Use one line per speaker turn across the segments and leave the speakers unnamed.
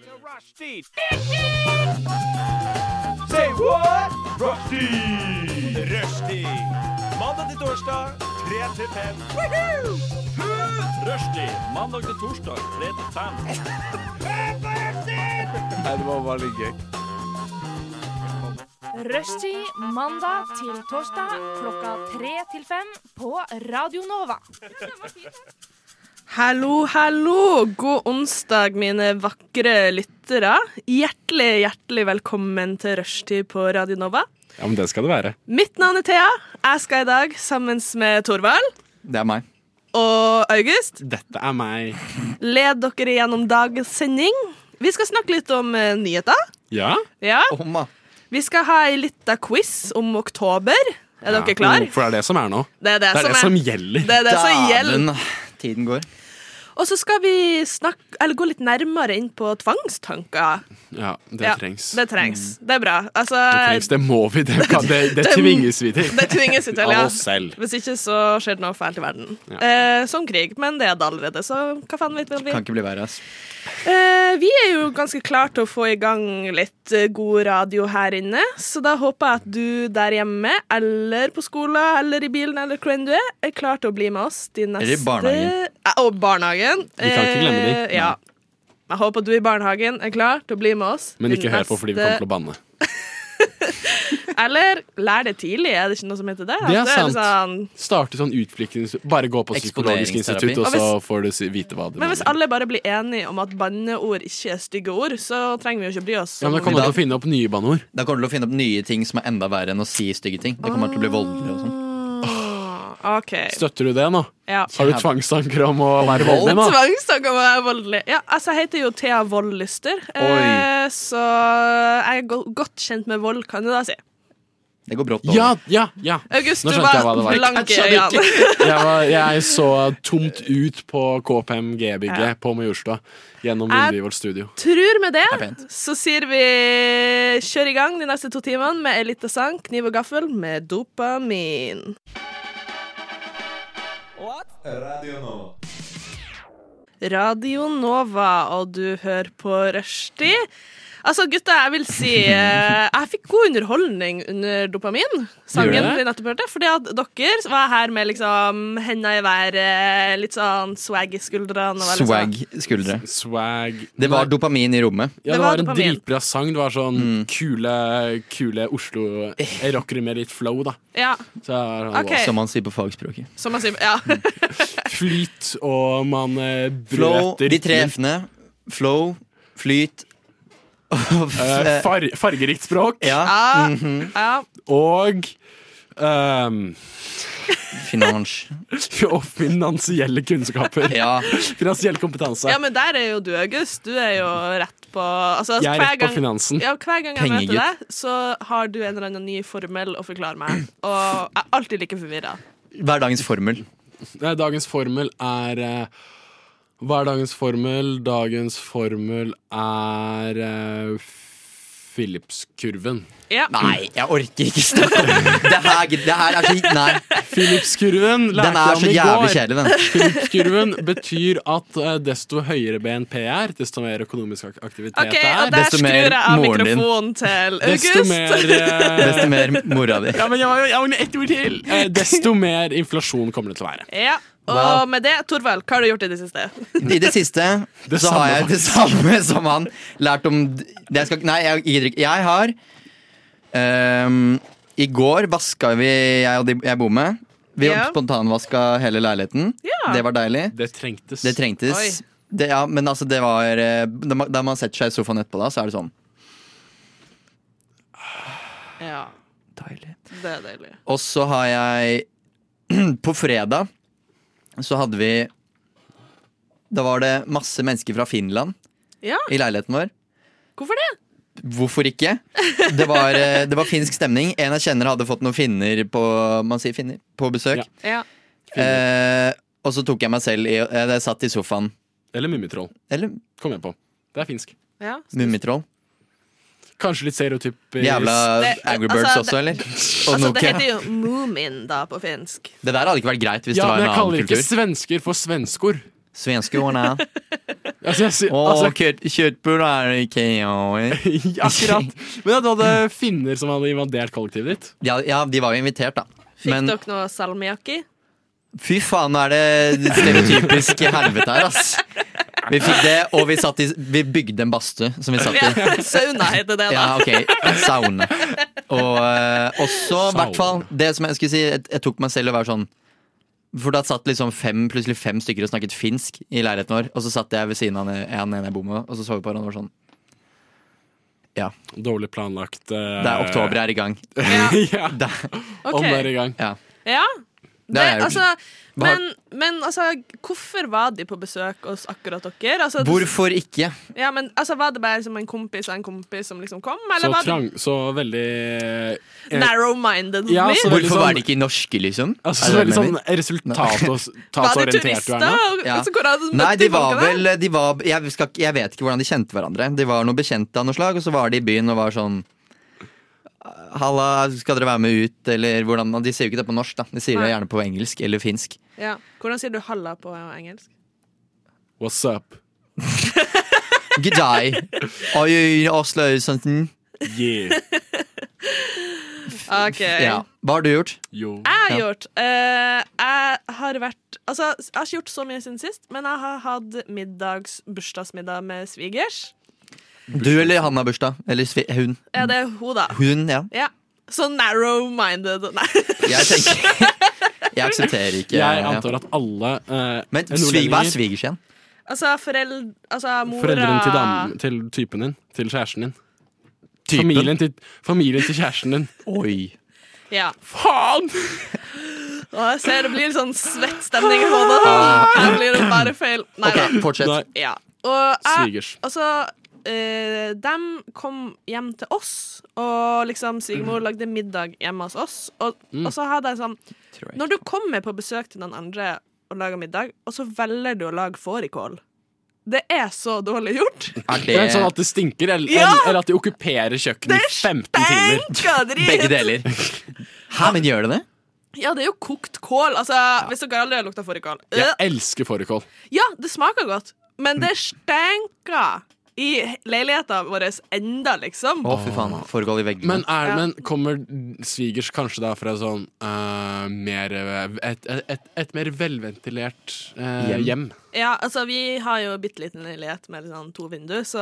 Rushdie. Say what? Rushdie. Rushdie. Mandag til torsdag, 3 til 5. Rushdie. Mandag til torsdag, 3 til 5.
Rushtid mandag til torsdag klokka tre til fem på Radio Nova.
Hallo, hallo! God onsdag, mine vakre lyttere. Hjertelig, hjertelig velkommen til Rushtid på Radio Nova.
Ja, men det skal det være.
Mitt navn er Thea. Jeg skal i dag sammen med Torvald
Det er meg.
og August
Dette er meg.
lede dere gjennom dagens sending. Vi skal snakke litt om eh, nyheter.
Ja?
Ja.
Omma.
Vi skal ha ei lita quiz om oktober. Er
Ja,
dere klar?
mm, For det er det som er nå.
Det er det,
Det er det som
som er.
gjelder.
Det er det som gjelder.
Tiden går.
Og så skal vi snakke, eller gå litt nærmere inn på tvangstanker.
Ja, det
Ja,
trengs.
Det trengs.
Mm.
Det er bra. Altså,
Det trengs, det må vi. Det, kan, det, det tvinges vi til.
det tvinges ut til, ja.
Av oss selv.
Hvis ikke så skjer det noe fælt i verden.
Ja.
Eh, som krig, men det er det allerede, så hva faen vet vel vi?
Kan ikke bli verre. ass.
Eh, vi er jo ganske klar til å få i gang litt eh, god radio her inne, så da håper jeg at du der hjemme, eller på skolen, eller i bilen, eller hvor enn du er, er klar til å bli med oss de neste
Eller i barnehagen.
Eh, og barnehagen.
Vi kan ikke glemme de.
Eh, ja. Jeg håper at du i barnehagen er klar til å bli med oss.
Men
de
ikke hør på fordi vi kommer til å banne.
Eller lær det tidlig, er det ikke noe som heter det?
Det er
At det
sant.
sånn,
Starte sånn utflikkings... Bare gå på psykologisk
Eksponeringsterapi.
institutt, og så
Og
får du si- vite hva du
men hvis alle bare blir enige om at banneord ikke er stygge ord, så trenger vi jo ikke bry oss.
Ja, men Da kommer du til å finne opp nye banneord.
Da kommer du til å finne opp nye ting som er enda verre enn å si stygge ting. Det kommer til å bli voldelig og sånn.
Ah, OK.
Støtter du det nå?
Ja.
Har du tvangstanker om å være
vold?
voldelig nå?
Tvangstanker om å være voldelig. Ja, altså, jeg heter jo Thea Voldlyster, eh, så jeg er go godt kjent med vold, kan du da si.
Det går brått over.
Ja, ja, ja.
August,
Nå
du
skjønte jeg hva
var
det var.
blank i
Jeg skjønte
øynene.
Jeg, var, jeg så tomt ut på KPMG-bygget på Majorstua gjennom
Jeg-
Lundby vårt studio.
Tror med det,
er pent.
så sier vi kjør i gang de neste to timene med ei lita sang, kniv og gaffel, med dopamin. Radio Nova, og du hører på Rushdie. Altså, gutta, jeg vil si eh, Jeg fikk god underholdning under dopamin, sangen
Gjorde det?
vi nettopp hørte. Fordi at dere var her med liksom henda i været, litt sånn swag i skuldrene. og var litt sånn-
Swag skuldre.
Swag
Det var Mm. dopamin i rommet.
det
ja, det
var
var en
dopamin.
dritbra sang. Det var sånn kule, kule
Eh.
Oslo-rockere med litt flow, da.
Ja,
Så jeg sånn var-
Ok.
Som man sier på fagspråket.
som man sier. Ja.
Flyt, og man eh,
Flow,
brøt
de tre
rytmen.
f-ene. Flow, flyt og
Eh,
f-
far, fargerikt språk
Ja,
Ja, ja.
og ehm,
finans.
Og finansielle kunnskaper.
Ja.
Finansiell kompetanse.
ja, men der er jo du, August. Du er jo rett på altså,
jeg er
hver
rett på
gang-
finansen.
Ja, Hver gang jeg møter
Pengegutt.
deg, så har du en eller annen ny formel å forklare meg. Og jeg er alltid like forvirra.
Hverdagens formel.
Nei, Dagens formel er eh, Hva er dagens formel? Dagens formel er eh, Philips-kurven.
Ja.
Nei, jeg orker ikke snakke om det. Det her, det her er så Nei.
Philips-kurven
Den
lærte
er så
jeg om
jævlig
i går.
kjedelig, den.
Philips-kurven betyr at eh, desto høyere BNP er, desto mer økonomisk ak- aktivitet
OK, og der
er.
Desto
skrur
mer
jeg av
moren din.
mikrofonen til
Desto
August.
mer eh,
Desto mer mora di.
Ja, men jeg var- jeg mangler ett ord til! Eh, Desto mer inflasjon kommer det til å være.
Ja, og
Wow.
med det, Torvald, hva har du gjort i det siste?
I det siste
Det
så
samme,
har jeg det samme som han lært om d- det jeg skal, Nei, jeg gidder ikke. Jeg har ehm, I går vaska vi, jeg og de jeg bor med. Vi
Ja.
spontanvaska hele leiligheten.
Ja.
Det var deilig.
Det trengtes.
Det
Oi.
trengtes. Det, ja, men altså, det var eh, Da man- da man setter seg i sofaen etterpå, da, så er det sånn
Ja,
Deilig.
det er deilig.
Og så har jeg På fredag så hadde vi Da var det masse mennesker fra Finland
Ja,
i leiligheten vår.
hvorfor det?
Hvorfor ikke? Det var, eh, det var finsk stemning. En jeg kjenner hadde fått noen finner på, man sier finner, på besøk.
Ja.
Eh, og så tok jeg meg selv i eh, Jeg satt i sofaen.
Eller Mummitroll.
Eller
Kom igjen på. Det er finsk.
ja.
Mummitroll.
Skanskje litt stereotypisk.
Jævla
Det-
Angry Birds
altså,
også, eller? Og
Altså, det
Nokia.
heter jo Moomin, da, på finsk.
Det der hadde ikke vært greit hvis
Ja,
det var en
men jeg
annen
kaller ikke
kultur.
svensker for svenskor.
Svenske ordene.
Altså, jeg, sier-
Og
altså,
kjøtt, kjøttbuller er ikke ja.
akkurat. Men at du hadde finner som hadde invadert kollektivet ditt.
Ja, ja, de var jo invitert, da.
Fikk
Men
dere noe salmiakki?
fy faen, nå er det stereotypisk helvete her, ass. Vi fikk det, og vi, satt i, vi bygde en badstue som vi satt i.
Sauna heter det, da.
Ja, ok, saune Og eh, også, i hvert fall Det som jeg skulle si, jeg, jeg tok meg selv og var sånn For da satt liksom fem, plutselig fem stykker Og snakket finsk i leiligheten vår Og så satt jeg ved siden av han han ene jeg bor med Og så så vi på hverandre og var sånn Ja,
Dårlig planlagt. eh,
det er oktober jeg er i gang
ja,
det,
Ok.
Om det er i gang.
ja.
Ja.
Det har jeg gjort.
altså,
Hva har-
men, men altså, hvorfor var de på besøk hos akkurat dere? Altså,
Hvorfor ikke?
Ja, men altså, Var det bare som en kompis av en kompis som liksom kom? Eller
Så
var
trang, så veldig
det narrow-minded?
Ja,
me?
så veldig
Hvorfor
sånn-
var det ikke i norske liksom? Er
Altså, så
det
veldig
det du
sånn
mener?
var de
resultatorientert du
turister?
er nå.
og-
Ja.
altså, hvor hadde de
Nei,
møtt
de var
folkene?
vel de var, jeg, skal, ikke- jeg vet ikke hvordan de kjente hverandre. De var noe bekjente av noe slag, og så var de i byen og var sånn Halla, skal dere være med ut? Eller hvordan De sier jo ikke det på norsk, da. De sier det
Nei.
gjerne på engelsk eller finsk.
Ja. Hvordan sier du 'halla' på engelsk?
What's up?
G'day. Oi, oi, Oslo, sånn.
Yeah.
Ok
Ja. Hva har du gjort?
Yo.
Jeg har
Ja.
gjort eh, Jeg har vært Altså, jeg har ikke gjort så mye siden sist, men jeg har hatt middags, bursdagsmiddag med svigers.
Du eller han har bursdag? Eller svi- hun?
Ja, det er hun, da.
Hun, ja.
Ja. Så narrow-minded. Nei.
Jeg tenker Jeg aksepterer ikke
Jeg
ja.
antar at alle eh,
Men svig, hva er
nordlendinger-
svigers igjen?
Altså, foreld... Altså, mora
Foreldrene til, dam, til typen din. Til kjæresten din. Familien til, familien til kjæresten din.
Oi.
Ja.
Faen!
Og jeg ser det blir litt sånn svett stemning i hodet.
Ah.
Her blir det bare feil. Nei da.
Ok, fortsett.
Nei.
Ja. Og jeg
Svigers.
Altså, eh, de kom hjem til oss, og liksom svigermor lagde middag hjemme hos oss. Og,
Mm.
og så hadde jeg sånn
Tror jeg.
Når du kommer på besøk til noen andre og lager middag, og så velger du å lage fårikål Det er så dårlig gjort.
Er
Det er sånn
det
at det stinker, eller,
Ja!
eller at de okkuperer kjøkkenet i 15 timer.
Benka drit!
begge deler? Hæ, men gjør det det?
Ja, det er jo kokt kål. Altså, Hvis dere aldri har lukta fårikål
Jeg
Øh.
elsker fårikål.
Ja, det smaker godt, men det stenker i leiligheten vår enda, liksom.
Å, fy faen. Foregår i veggene.
Men, er,
Ja.
men kommer svigers kanskje da fra sånn eh, mer eh, et, et, et, et mer velventilert eh,
Hjem.
hjem.
Ja, altså, vi har jo bitte liten leilighet med sånn to vinduer, så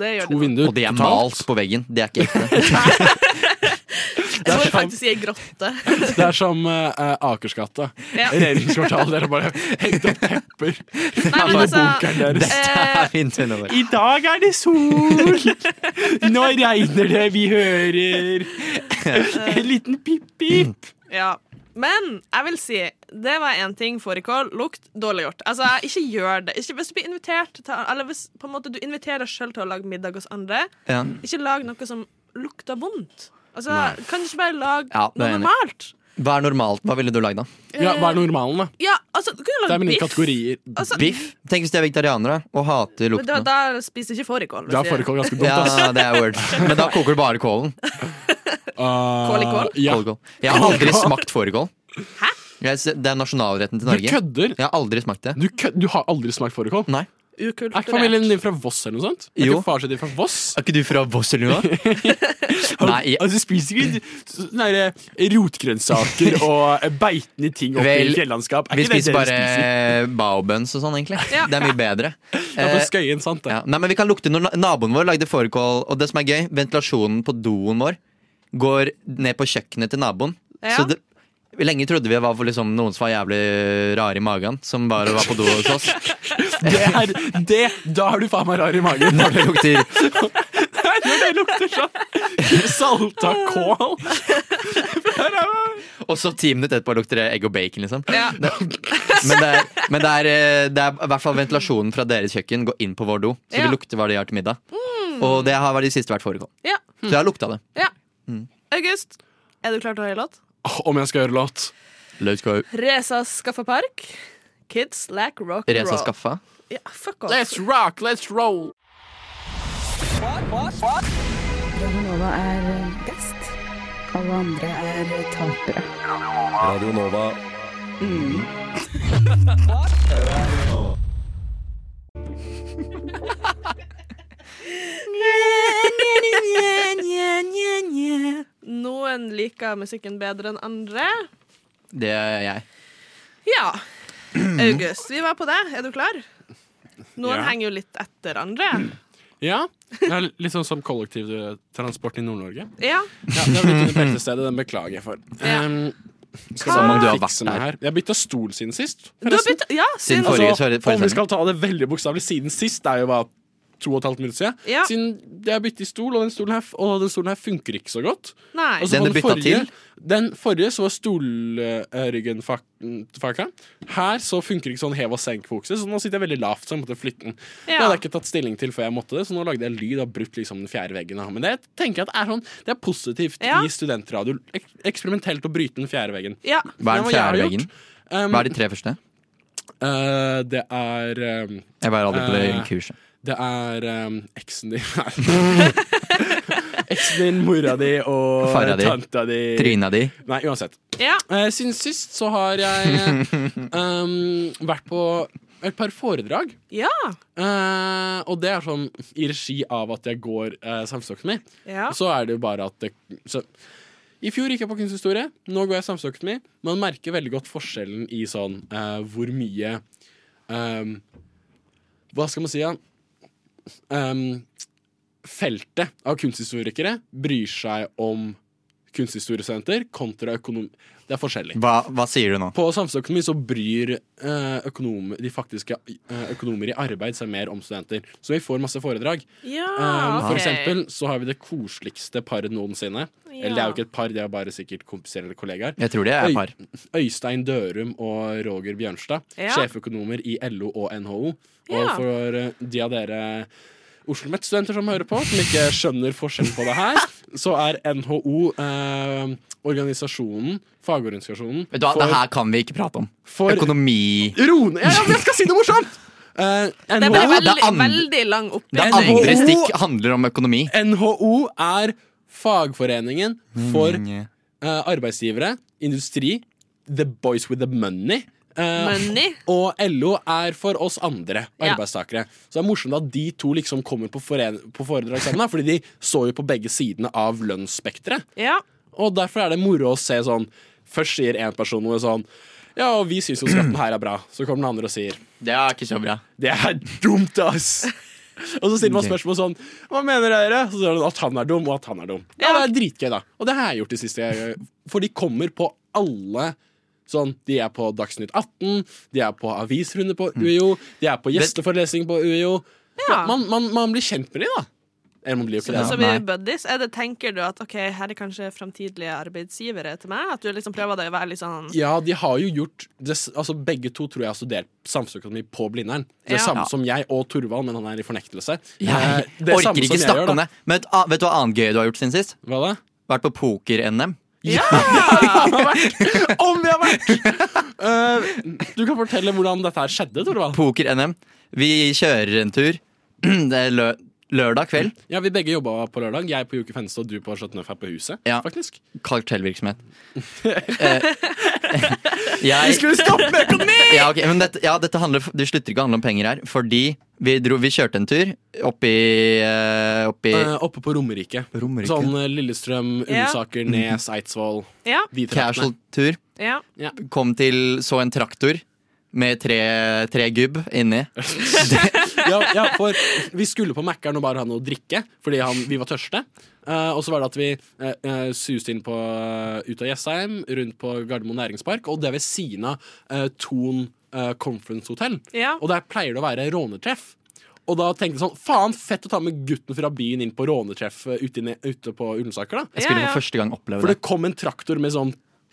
det gjør
To
det.
vinduer
Og det er
totalt.
malt på veggen. Det er ikke ekte.
Jeg bor
er sånn-
faktisk i ei grotte.
Det er som eh, eh, Akersgata.
Ja.
Regjeringskvartalet. Dere bare hengt opp tepper.
Nei, men altså,
Bunkeren deres.
Dette er min tenår.
I dag er det sol! Nå regner det, vi hører En liten pip-pip.
ja. Men jeg vil si det var én ting fårikål lukt dårlig gjort. Altså, ikke gjør det. Ikke, hvis du blir invitert til, Eller hvis på en måte, du inviterer deg sjøl til å lage middag hos andre,
Ja.
ikke lag noe som lukter vondt. Altså, kan du ikke bare lage
Ja, det er
noe
jeg enig i.
normalt?
Hva er normalt? Hva ville du lagd, da?
Ja, hva er normalen, da?
Ja, altså, du kunne
Det er
lage
mine
biff.
kategorier.
Altså,
Biff? Tenk hvis de er vegetarianere og hater
men da,
lukten.
da spiser ikke fårikål. hvis
Det har
jeg-
forekål ganske dumt, ass.
Ja, det er word. Men da koker du bare kålen.
i
Kål
kål?
Ah, Ja.
Kålkål. Jeg har aldri smakt fårikål. Jeg s- Det er nasjonalretten til
Du
Norge.
kødder!
Jeg har aldri smakt det.
Du, kød, du har aldri smakt fårikål?
Nei.
Ukulturert.
Er ikke familien din fra Voss eller noe sånt? Er
Jo.
ikke far sin din fra Voss?
Er ikke du fra Vosselua? Nei, jeg-
Altså, spiser ikke sånne der, rotgrønnsaker og eh, beitende ting oppe
Vel,
i fjellandskap. Er
vi
ikke det
spiser
dere spiser?
bare baobønns og sånn, egentlig.
Ja.
Det er mye bedre.
Det er
Eh,
for skøyen, sant? Det.
Ja. Nei, men vi kan lukte når na- Naboen vår lagde fårikål, og det som er gøy, ventilasjonen på doen vår går ned på kjøkkenet til naboen.
Ja.
Så det, lenge trodde vi det var for liksom noen som var jævlig rare i magen, som bare var på do hos oss.
Det er, det, da er du faen meg rar i magen.
Når det lukter
Nei, når det lukter sånn salta kål.
Og så ti minutter etterpå lukter det egg og bacon, liksom.
Ja.
Det, men det er, men det, er, eh, det er i hvert fall ventilasjonen fra deres kjøkken går inn på vår do, så
Ja. Mm.
vi lukter hva de har til middag. Og det har vært de siste vært fårikål.
Ja.
Så jeg har lukta det.
ja. August, er du klar til å høre låt?
Om jeg skal gjøre låt?
Løvskau.
Reza skaffa park. Kids lack rock and
Reza
roll.
skaffa.
Ja, fuck off.
Let's rock, let's roll.
Nova er best. Alle andre er tapere.
Radio Nova.
liker musikken bedre enn andre.
Det gjør jeg.
Ja. August, vi var på det. Er du klar? Noen
Ja.
henger jo litt etter andre.
Ja, det er litt sånn som kollektivtransport i Nord-Norge.
Ja.
Ja, det er litt under beltestedet, den beklager jeg for.
Ja.
Ehm, skal
Som om du har
fikse
vært
meg
der.
her. Jeg bytta stol siden sist,
Du har bytta Ja,
Siden
siden
forrige- forrige
om vi
sending.
skal ta det veldig bokstavelig, siden sist det er jo bare to og et halvt minutt siden.
Ja.
Siden jeg bytta stol, og den stolen her, og den stolen her funker ikke så godt.
Nei.
Og så
Den
på
du bytta
forrige-
til?
Den forrige så var stolryggen-faka. Her så funker ikke sånn hev og senk-fokuset, så nå sitter jeg veldig lavt, så jeg måtte flytte den. Det
Ja.
hadde jeg ikke tatt stilling til før jeg måtte det, så nå lagde jeg lyd og brutt liksom den fjerde veggen. jeg har. Men det tenker jeg at er sånn, det er positivt
Ja.
i studentradio. Ek eksperimentelt å bryte den fjerde veggen.
Ja.
Hva er den
Det var
fjerde
jeg har
veggen?
Um,
Hva er de tre første?
eh, det er um,
Jeg var aldri på det
Eh,
kurset.
Det er um, eksen din Nei. Eksen din, mora di og
Fara di.
tanta di.
Tryna di.
Nei, uansett.
Ja.
Eh, siden sist så har jeg eh, um, vært på et par foredrag.
Ja.
Eh, og det er sånn i regi av at jeg går uh, samfunnsøkonomi.
ja.
Og Så er det jo bare at det, så, I fjor gikk jeg på kunsthistorie, nå går jeg samfunnsøkonomi. Man merker veldig godt forskjellen i sånn eh, hvor mye ehm, Hva skal man si, da? Ehm, feltet av kunsthistorikere bryr seg om kunsthistoriestudenter kontra økonom... Det er forskjellig.
Hva, hva sier du nå?
På samfunnsøkonomi så bryr eh, økonom, de faktiske eh, økonomer i arbeid seg mer om studenter. Så vi får masse foredrag.
ja
Um, For
Ah, ok.
eksempel så har vi det koseligste paret noensinne.
Ja.
Eller det er jo ikke et par, det er bare sikkert kompiser eller kollegaer.
Jeg tror de er
Oi.
par.
Øystein Dørum og Roger Bjørnstad,
Ja.
sjeføkonomer i LO og NHO. Og
Ja.
for eh, de av dere Oslomet-studenter som hører på, som ikke skjønner forskjellen på det her, så er NHO eh, organisasjonen, fagorganisasjonen
Vet du hva, Det
for,
her kan vi ikke prate om.
for
Økonomi
Ro ned! Ja, ja, men jeg skal si noe morsomt! Eh,
Det er
NHO,
bare
Ja, det
veldig,
er andre-
veldig lang
Det
oppdeling.
andre stikk handler om økonomi.
NHO er fagforeningen for
Mm,
eh, arbeidsgivere, industri, the boys with the money. eh,
Money.
Og LO er for oss andre
Ja.
arbeidstakere. Så det er morsomt at de to liksom kommer på, foren på foredrag sammen, da, fordi de står jo på begge sidene av lønnsspekteret.
Ja.
Og derfor er det moro å se sånn Først sier én person noe sånn Ja, og vi syns jo skatten her er bra. Så kommer den andre og sier
Det er ikke så bra.
det er dumt, ass! Og så stiller man
Ok.
spørsmål sånn Hva mener dere? Så sier han at han er dum, og at han er dum. Ja, det
Ja.
er dritgøy, da. Og det har jeg gjort det siste. jeg- For de kommer på alle sånn De er på Dagsnytt 18, de er på avisrunde på
Hmm.
UiO, de er på gjesteforelesning på UiO.
Ja.
Man, man, man blir kjent med de, da. Eller man blir jo ikke
Ja,
Så
det. da.
blir
nei.
vi buddies. Er det, tenker du at ok, her er kanskje framtidige arbeidsgivere til meg? At du liksom prøver deg å være litt sånn
Ja, de har jo gjort det, s- altså Begge to tror jeg har studert samfunnsøkonomi på Blindern.
Ja.
Det samme
Ja.
som jeg og Torvald, men han er i fornektelse. Eh,
Jeg
det samme
orker
som
ikke
jeg
snakke
gjør, da.
om det. Men vet, ah, vet du hva annet gøy du har gjort siden sist?
Hva da?
Vært på poker-NM.
Om vi har vært! Eh, du kan fortelle hvordan dette her skjedde, Torvald.
Poker-NM. Vi kjører en tur. Det er lø lørdag kveld.
Ja, Vi begge jobba på lørdag. Jeg på Joke Fenstad og du på Chateauneuf her på huset.
Ja.
faktisk
Kartellvirksomhet. Eh, jeg
stoppe med økonomi!
ja, ok, men dette, ja, dette handler, det slutter ikke å handle om penger her. Fordi vi, dro, vi kjørte en tur opp i, eh, opp i
oppe på Romerike.
Romerike. Mm.
Sånn eh, Lillestrøm,
Ja.
Ullensaker, Nes, Eidsvoll.
Ja.
casual tur.
ja.
Kom til, så en traktor med tre, tre gubb inni.
ja, ja, for vi skulle på Mækkern og bare ha noe å drikke, fordi han, vi var tørste. Eh, og så var det at vi eh, eh, suste inn på, ut av Jessheim, rundt på Gardermoen næringspark, og det ved siden av eh, Thon eh, Conference Hotel.
Ja.
Og der pleier det å være rånetreff. Og da tenkte jeg sånn, faen fett å ta med gutten fra byen inn på rånetreff eh, ute, inne, ute på Ullensaker, da.
Jeg skulle
Ja, ja.
for første gang oppleve
For
det.
det kom en traktor med sånn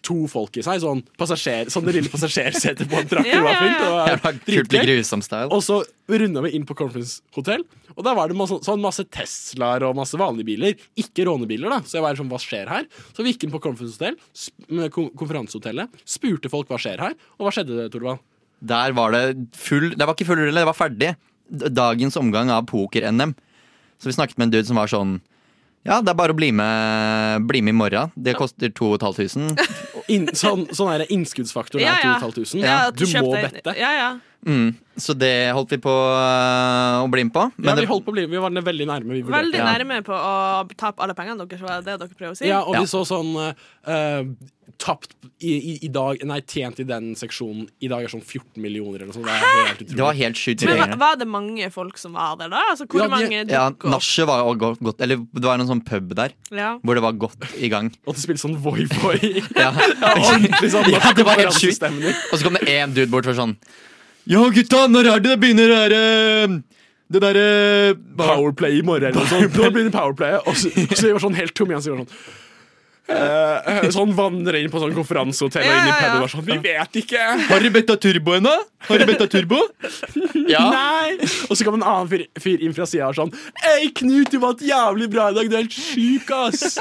to folk i seg, sånn, passasjer, sånn det lille passasjersetet på en traktor
Ja, ja,
var
ja.
fylt. og det
Jævla
var
kult
dritgøy.
med grusom style.
Og så runda vi inn på Conference Hotel, og der var det masse, sånn masse Teslaer og masse vanlige biler. Ikke rånebiler, da. Så jeg var sånn, hva skjer her? Så vi gikk inn på Conference Hotel, sp med kon- konferansehotellet, spurte folk hva skjer her, og hva skjedde, det, Torvald?
Der var det full Det var ikke full rulle, det var ferdig. D- Dagens omgang av poker-NM. Så vi snakket med en dude som var sånn Ja, det er bare å bli med, bli med i morgen. Det koster 2500.
inn, sånn, sånn er det innskuddsfaktor. Det
Ja,
er
ja.
2500.
Ja,
du
kjøp
må
deg-
bette.
Ja, ja.
Mm. Så det holdt vi på øh, å bli med på.
Ja,
Men
vi holdt på å bli Vi var veldig nærme. Vi vurderte.
Veldig
Ja.
nærme på å tape alle pengene deres, var det det dere prøver å si?
Ja, og
Ja.
vi så sånn eh, eh, Tapt i, i, i dag Nei, tjent i den seksjonen. I dag er sånn 14 millioner eller noe sånt. Det er helt
det var
utrolig.
helt sjukt.
Men var,
tilgjengelig.
var det mange folk som var der, da? Altså, hvor
Ja, de-
mange
Ja,
dukket opp?
Nachet var jo godt, godt Eller det var en sånn pub der
Ja.
hvor det var godt i gang.
Og de spilte sånn voi-voi.
Ja.
Ordentlig sånn
Ja, det var helt
norsk
sjukt.
konkurransestemning.
Og så kom det én dude bort for sånn Ja, gutta, når er det det begynner det derre Det eh, derre
Powerplay i morgen eller noe sånt. Nå blir det Powerplay. Og så, og så gjør sånn helt tom igjen, så gjør sånn eh, eh, sånn vandrer inn på sånn konferansehotell og inn i
Ja, ja, ja.
puben og er sånn Vi vet ikke!
Har du betta turbo ennå? Har du betta turbo? Ja.
Nei! Og så kom en annen fyr, fyr inn fra sida og sånn Ei, Knut, du vant jævlig bra i dag. Du er helt sjuk, ass!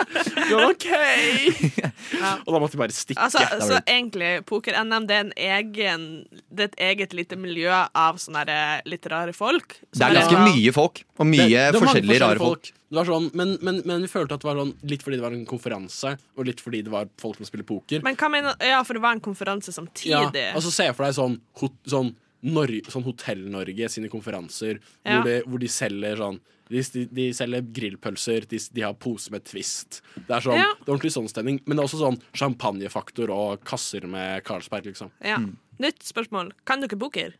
Ja, OK! Og da måtte vi bare stikke.
Altså,
da var
så
det-
egentlig, poker-NM det er en egen Det er et eget lite miljø av sånne der litt rare folk.
Det er ganske mye folk, og mye
Det- det var mange
forskjellige rare folk.
Det var sånn, men, men, men vi følte at det var sånn, litt fordi det var en konferanse, og litt fordi det var folk som spiller poker.
Men hva mener Ja, for det var en konferanse
Ja,
samtidig.
altså Se for deg sånn, hot, sånn, Norge, sånn Hotell-Norge sine konferanser,
Ja.
hvor, de, hvor de selger sånn de, de, de selger grillpølser, de, de har pose med Twist. Det er sånn,
Ja.
det er ordentlig sånn stemning. Men det er også sånn champagnefaktor og kasser med Carlsberg, liksom.
Ja.
hmm.
Nytt spørsmål. Kan dere poker?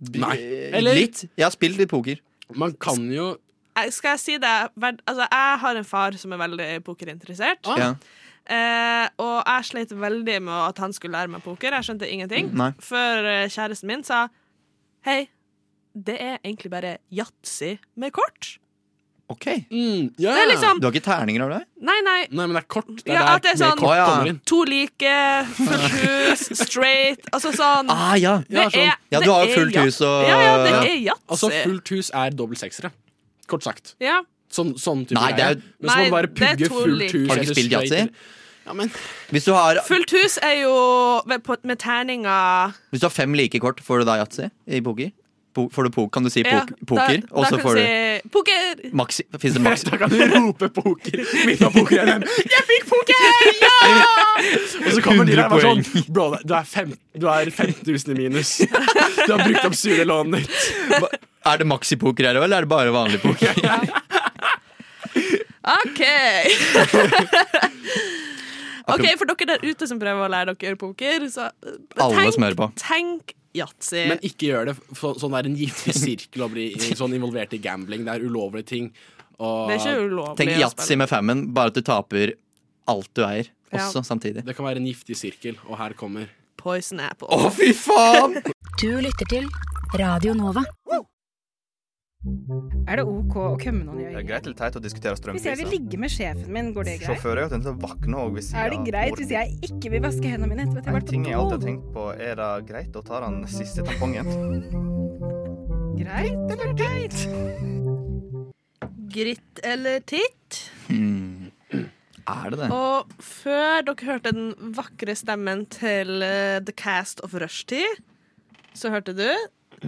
Nei.
Eh,
Eller
Litt. Jeg har spilt litt poker.
man kan jo
Eh, Skal jeg si det? Verd- Altså, jeg har en far som er veldig pokerinteressert.
Ah.
Ja.
Eh, og jeg slet veldig med at han skulle lære meg poker. Jeg skjønte ingenting.
Nei.
Før eh, kjæresten min sa Hei, det er egentlig bare yatzy med kort.
OK.
mm, ja.
Det er liksom
Du har ikke terninger, har du det?
Nei, nei.
Nei, men det er kort. Det er
Ja,
der
at det er
mer
sånn-
Å,
kort
ja.
kommer inn.
To like, fullt hus, straight Altså sånn.
Ah, ja.
ja, sånn.
Ja, du
det
har
er
fullt
yat-
hus og
Ja, ja, det er yatzy.
Altså, fullt hus er dobbeltseksere. Kort sagt.
ja.
Sånn, sånn type
Nei, det er jo-
greie. Men så må
Nei,
man bare
det er
pugge
to
fullt
lik.
hus.
Har du ikke
eller
spilt
straight-
yatzy?
Ja, men
Hvis du har,
Fullt hus er jo ved- på- med terninger
hvis du har fem like kort, får du da yatzy i poker? Po får du po kan du si
Ja,
pok poker,
da-
og
da
så
kan
får du
si, Poker!
maxi Fins det maxi?
Da kan du rope poker midt av poker-NM. Jeg fikk poker! Ja! Og så kommer de der og er sånn
100
Bro, du er, fem, du er 5000 i minus. Du har brukt opp sure lånet ditt.
Er det maxipoker her òg, eller er det bare vanlig poker?
OK. OK, for dere der ute som prøver å lære dere poker, så eh,
Alle
tenk,
smører på.
tenk yatzy.
Men ikke gjør det. For sånn er en giftig sirkel å bli i- sånn involvert i gambling. Det er ulovlige ting. Og
Det er ikke ulovlig.
Tenk
å
yatzy
spille.
med femmen, bare at du taper alt du eier også samtidig.
det kan være en giftig sirkel, og her kommer
Poison apple.
Å, fy faen!
Du lytter til Radio Nova.
Er det ok å kømme noen i
Det
øyet?
er greit liksom. eller teit å diskutere
Hvis jeg vil
strømpriser.
ligge med sjefen min, går det greit?
Sjåfører er jo tenkt å våkne òg hvis
Er det greit hvis jeg ikke vil vaske hendene mine etter at jeg
En
har
ting jeg alltid har
vært på do?
tenkt på, er det greit å ta den siste tampongen?
Greit eller greit?
Gritt eller titt.
Er det det?
Og før dere hørte den vakre stemmen til eh, The Cast of Rushtid, så hørte du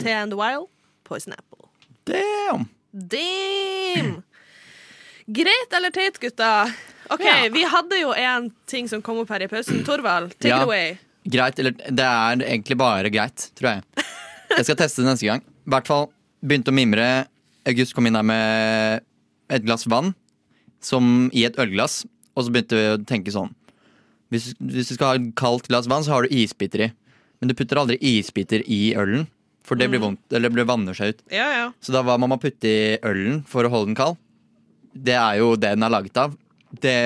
T and Wild, Poison Apple.
Damn!
Damn! Greit eller teit, gutta? OK, vi hadde jo en ting som kom opp her i pausen. Torvald, take
Ja.
it away.
Greit, eller det er egentlig bare greit, tror jeg. Jeg skal teste det neste gang. I hvert fall begynte å mimre. August kom inn her med et glass vann som i et ølglass, og så begynte vi å tenke sånn Hvis, hvis du skal ha et kaldt glass vann, så har du isbiter i. Men du putter aldri isbiter i ølen, for det blir vondt, eller det blir- vanner seg ut.
Ja, ja.
Så da hva må man putte i ølen for å holde den kald? Det er jo det den er laget av. Det,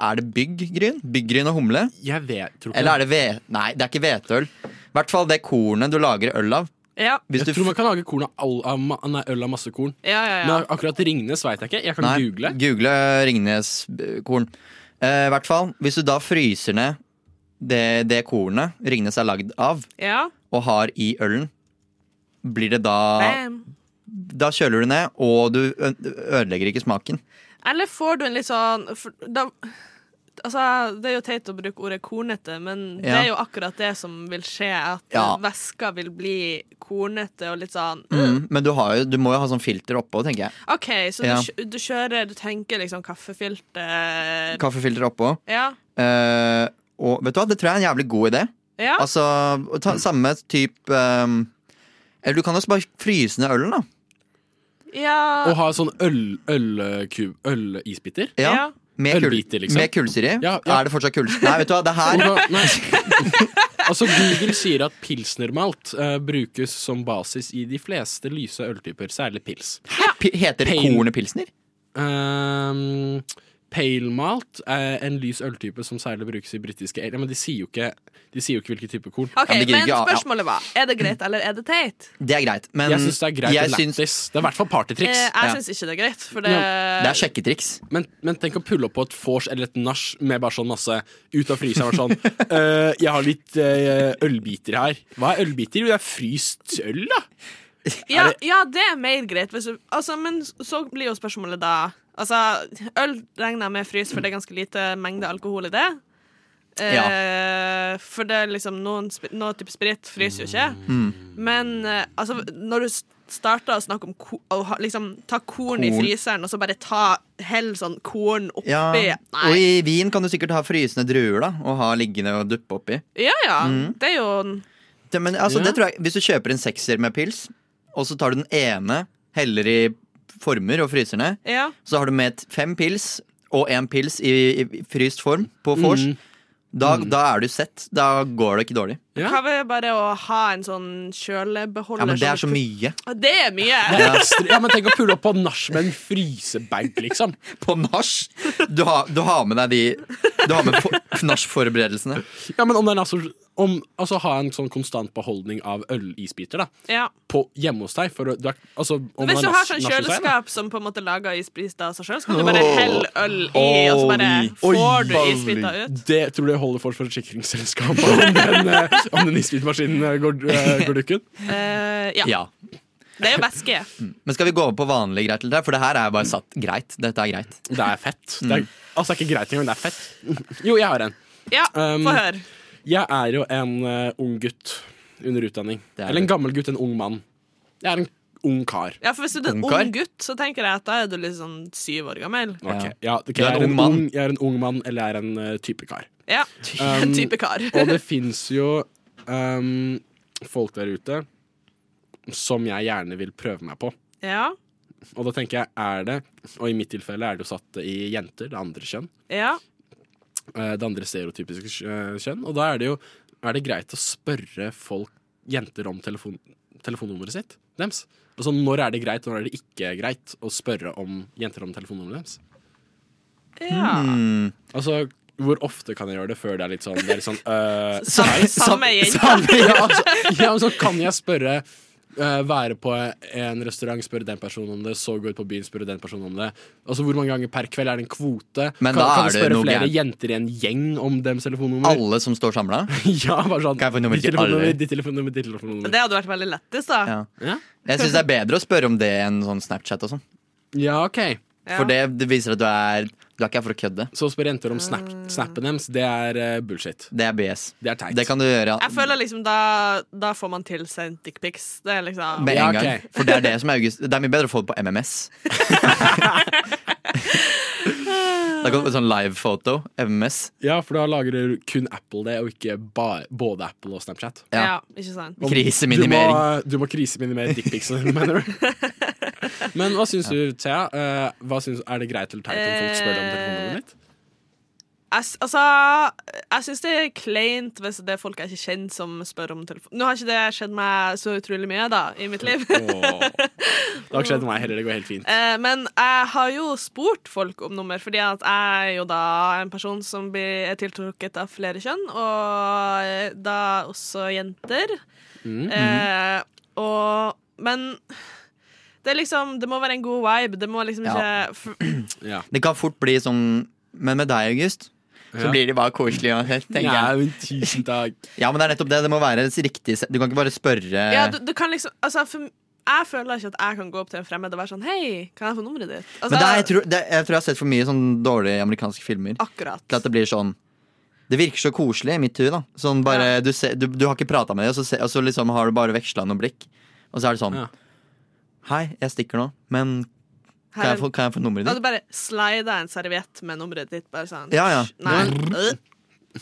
er det byggryn? Byggryn og humle?
Jeg vet, tror ikke
Eller er det ve... Nei, det er ikke hveteøl. I hvert fall det kornet du lager øl av.
Ja,
Hvis
Jeg
du
tror man kan lage korn av all, av, ma- nei, øl av masse korn.
ja, ja. ja.
Men akkurat Ringnes veit jeg ikke. Jeg kan
Nei,
google.
Google eh, Ringnes-korn. Eh, I hvert fall, hvis du da fryser ned det, det kornet Ringnes er lagd av,
ja.
og har i ølen, blir det da
Bam.
Da kjøler du ned, og du ø- ødelegger ikke smaken.
Eller får du en litt sånn for, da, Altså, Det er jo teit å bruke ordet kornete, men det
Ja.
er jo akkurat det som vil skje. At
Ja.
væska vil bli kornete og litt sånn
Mm, men du, har jo, du må jo ha sånn filter oppå, tenker jeg.
OK, så
Ja.
du, kjø- du kjører Du tenker liksom kaffefilter
Kaffefilter oppå.
Ja.
eh, og Vet du hva, det tror jeg er en jævlig god idé.
Ja.
Altså, å ta samme type ehm, Eller du kan også bare fryse ned ølen, da.
ja.
Å ha sånn øl, ølkub, ølisbiter.
Ja,
Ja.
Med, kull,
Ølbiter, liksom.
med kullsyre i.
Ja, ja.
Er det fortsatt kullsyre? Nei, vet du hva, det her
Ola, nei. Altså, Google sier at pilsnermalt eh, brukes som basis i de fleste lyse øltyper, særlig pils.
P- heter
Pale.
kornet pilsner.
Um, pale malt er en lys øltype som særlig brukes i britiske ale. Men de sier jo ikke, de sier jo ikke hvilken type korn.
OK,
Ja, men det gir
men
ikke- ja, ja.
spørsmålet var Er det greit, eller er det teit?
Det er greit, men
Jeg syns det er greit
Um, jeg
og
syns-
lættis. Det er i hvert fall
Eh,
partytriks.
jeg syns ikke det er greit, for det
det er sjekketriks.
Men, men tenk å pulle opp på et vors eller et nach med bare sånn masse ut av fryseren. Bare sånn «Eh, Jeg har litt eh, ølbiter her. Hva er ølbiter? Jo, det er fryst øl, da.
Ja,
Er det-
ja, det er mer greit. Hvis du, altså, men så blir jo spørsmålet da Altså, Øl regner jeg med frys, for det er ganske lite mengde alkohol i det. Eh, For det er liksom noen, sp- noe type sprit fryser jo ikke.
Mm.
Men eh, altså, når du s- starter å snakke om ko å ha, liksom, ta korn, i
Korn.
fryseren, og så bare ta hell sånn korn oppi
Ja. Og
Nei.
i vin kan du sikkert ha frysende druer da og ha liggende og duppe oppi.
Ja ja.
Mm.
Det er jo
Det, men altså,
Ja.
det tror jeg, Hvis du kjøper en sekser med pils, og så tar du den ene, heller i former og fryser ned,
Ja.
så har du med et fem pils og én pils i, i fryst form på vors, da, da er du sett. Da går det ikke dårlig.
Ja.
Hva med bare å ha en sånn kjølebeholder?
Ja, Men det er så
som du
mye.
putter- Det er mye.
Ja. ja, men Tenk å pulle opp på nach med en frysebag, liksom.
På nach! Du, har- du har med deg de Du har med for- nachforberedelsene.
Ja, men om det er altså, om, altså Ha en sånn konstant beholdning av ølisbiter da
Ja.
på, hjemme hos deg. For, å- du er, altså, om
Hvis
det
du har
er nach-
sånn
nach hos deg, da.
kjøleskap som på en måte lager isbit av seg sjøl, så kan du bare helle øl i, og så bare
Oi,
får du
oi.
isbita ut.
Det tror du jeg holder for forsikringsselskapet om den, eh, om den isbitmaskinen eh, går, eh, går dukken?
Eh, ja.
Ja.
Det er jo væske.
Men skal vi gå over på vanlige greier til det? For det her er bare satt greit. Dette er greit.
Det er fett. Det er, altså, det er ikke greit engang, det er fett. Jo, jeg har en.
Ja,
Um,
få høre.
Jeg er jo en eh, ung gutt under utdanning.
Det er
Eller en
du.
gammel gutt, en ung mann. Jeg er en ung kar.
Ja, for hvis du er en
ungkar?
ung gutt, så tenker jeg at da er du litt sånn syv år gammel.
Ok,
Ja.
ja, ok,
Du er en
jeg, er
ung
en
mann.
ung, jeg er en ung mann, eller jeg er en eh, type kar.
Ja.
Um,
type kar.
Og det fins jo um, folk der ute som jeg gjerne vil prøve meg på.
Ja.
Og da tenker jeg, er det Og i mitt tilfelle er det jo satt i jenter, det andre kjønn.
Ja.
eh, Det andre stereotypiske eh, kjønn. Og da er det jo Er det greit å spørre folk, jenter, om telefon, telefonnummeret sitt? Dems. Altså, når er det greit, og når er det ikke greit å spørre om jenter om telefonnummeret deres?
ja.
Mm.
Altså, hvor ofte kan jeg gjøre det før det er litt sånn, det er litt sånn eh,
Samme, samme jente.
ja, altså, ja, men så kan jeg spørre eh, være på en restaurant, spørre den personen om det, så gå ut på byen, spørre den personen om det. Altså Hvor mange ganger per kveld er det en kvote?
Men
kan,
da
kan
er
jeg
det
spørre
noe
flere
gærent.
jenter i en gjeng om deres telefonnummer?
Alle som står samla.
ja, bare sånn
Kan jeg få nummer
ditt
til alle?
telefonnummer, ditt telefonnummer, ditt telefonnummer.
Det hadde vært veldig lettest, da.
Ja.
Ja?
Jeg syns det er bedre å spørre om det enn sånn Snapchat og sånn.
ja, OK.
Ja.
For det, det viser at du er Du er ikke her for å kødde.
Så å spørre jenter om snap, snappen deres, det er eh, bullshit.
Det er BS.
Det er teit.
Det kan du gjøre
Jeg føler liksom da, da får man tilsendt dickpics. Det er liksom
med
Ja,
en gang.
ok.
For det er det som er august. Det er mye bedre å få det på MMS. da kan du få sånn livefoto. MMS.
Ja, for da lagrer kun Apple det, og ikke ba både Apple og Snapchat.
Ja.
Ja, ikke sant?
Om-
Kriseminimering.
Du må, du må kriseminimere dickpicsene, mener du? Men hva syns du, Thea? Eh, hva syns, er det greit eller teit om folk spør om telefonnummeret ditt?
Jeg, s- altså, jeg syns det er kleint hvis det er folk jeg ikke kjenner som spør om telefon. Nå har ikke det skjedd meg så utrolig mye da, i mitt liv,
Åh. Det har ikke skjedd meg heller, det går helt fint.
Eh, men jeg har jo spurt folk om nummer, fordi at jeg er jo da en person som blir, er tiltrukket av flere kjønn, og eh, da også jenter. Eh, og, men det er liksom Det må være en god vibe. Det må liksom
Ja.
ikke for,
Ja.
Det kan fort bli sånn Men med deg, August, så
Ja.
blir det bare koselig uansett, tenker
Ja,
jeg.
men tusen takk.
Ja, men det er nettopp det. Det må være riktig se- Du kan ikke bare spørre
Ja, du, du kan liksom altså, for, Jeg føler ikke at jeg kan gå opp til en fremmed og være sånn Hei, kan jeg få nummeret ditt?
Men
Altså,
det er, jeg, tror, det, jeg tror jeg har sett for mye sånn dårlige amerikanske filmer.
Akkurat.
Til at det blir sånn Det virker så koselig i mitt hue, da. Sånn bare, du, ser, du, du har ikke prata med dem, og så, se, og så liksom har du bare veksla noen blikk. Og så er det sånn
Ja.
Hei, jeg stikker nå, men kan
Her-
jeg få, kan jeg få nummeret
Da hadde
ditt?
du bare slida en serviett med nummeret ditt. Bare sånn
Ja, ja.
Nei. Øh.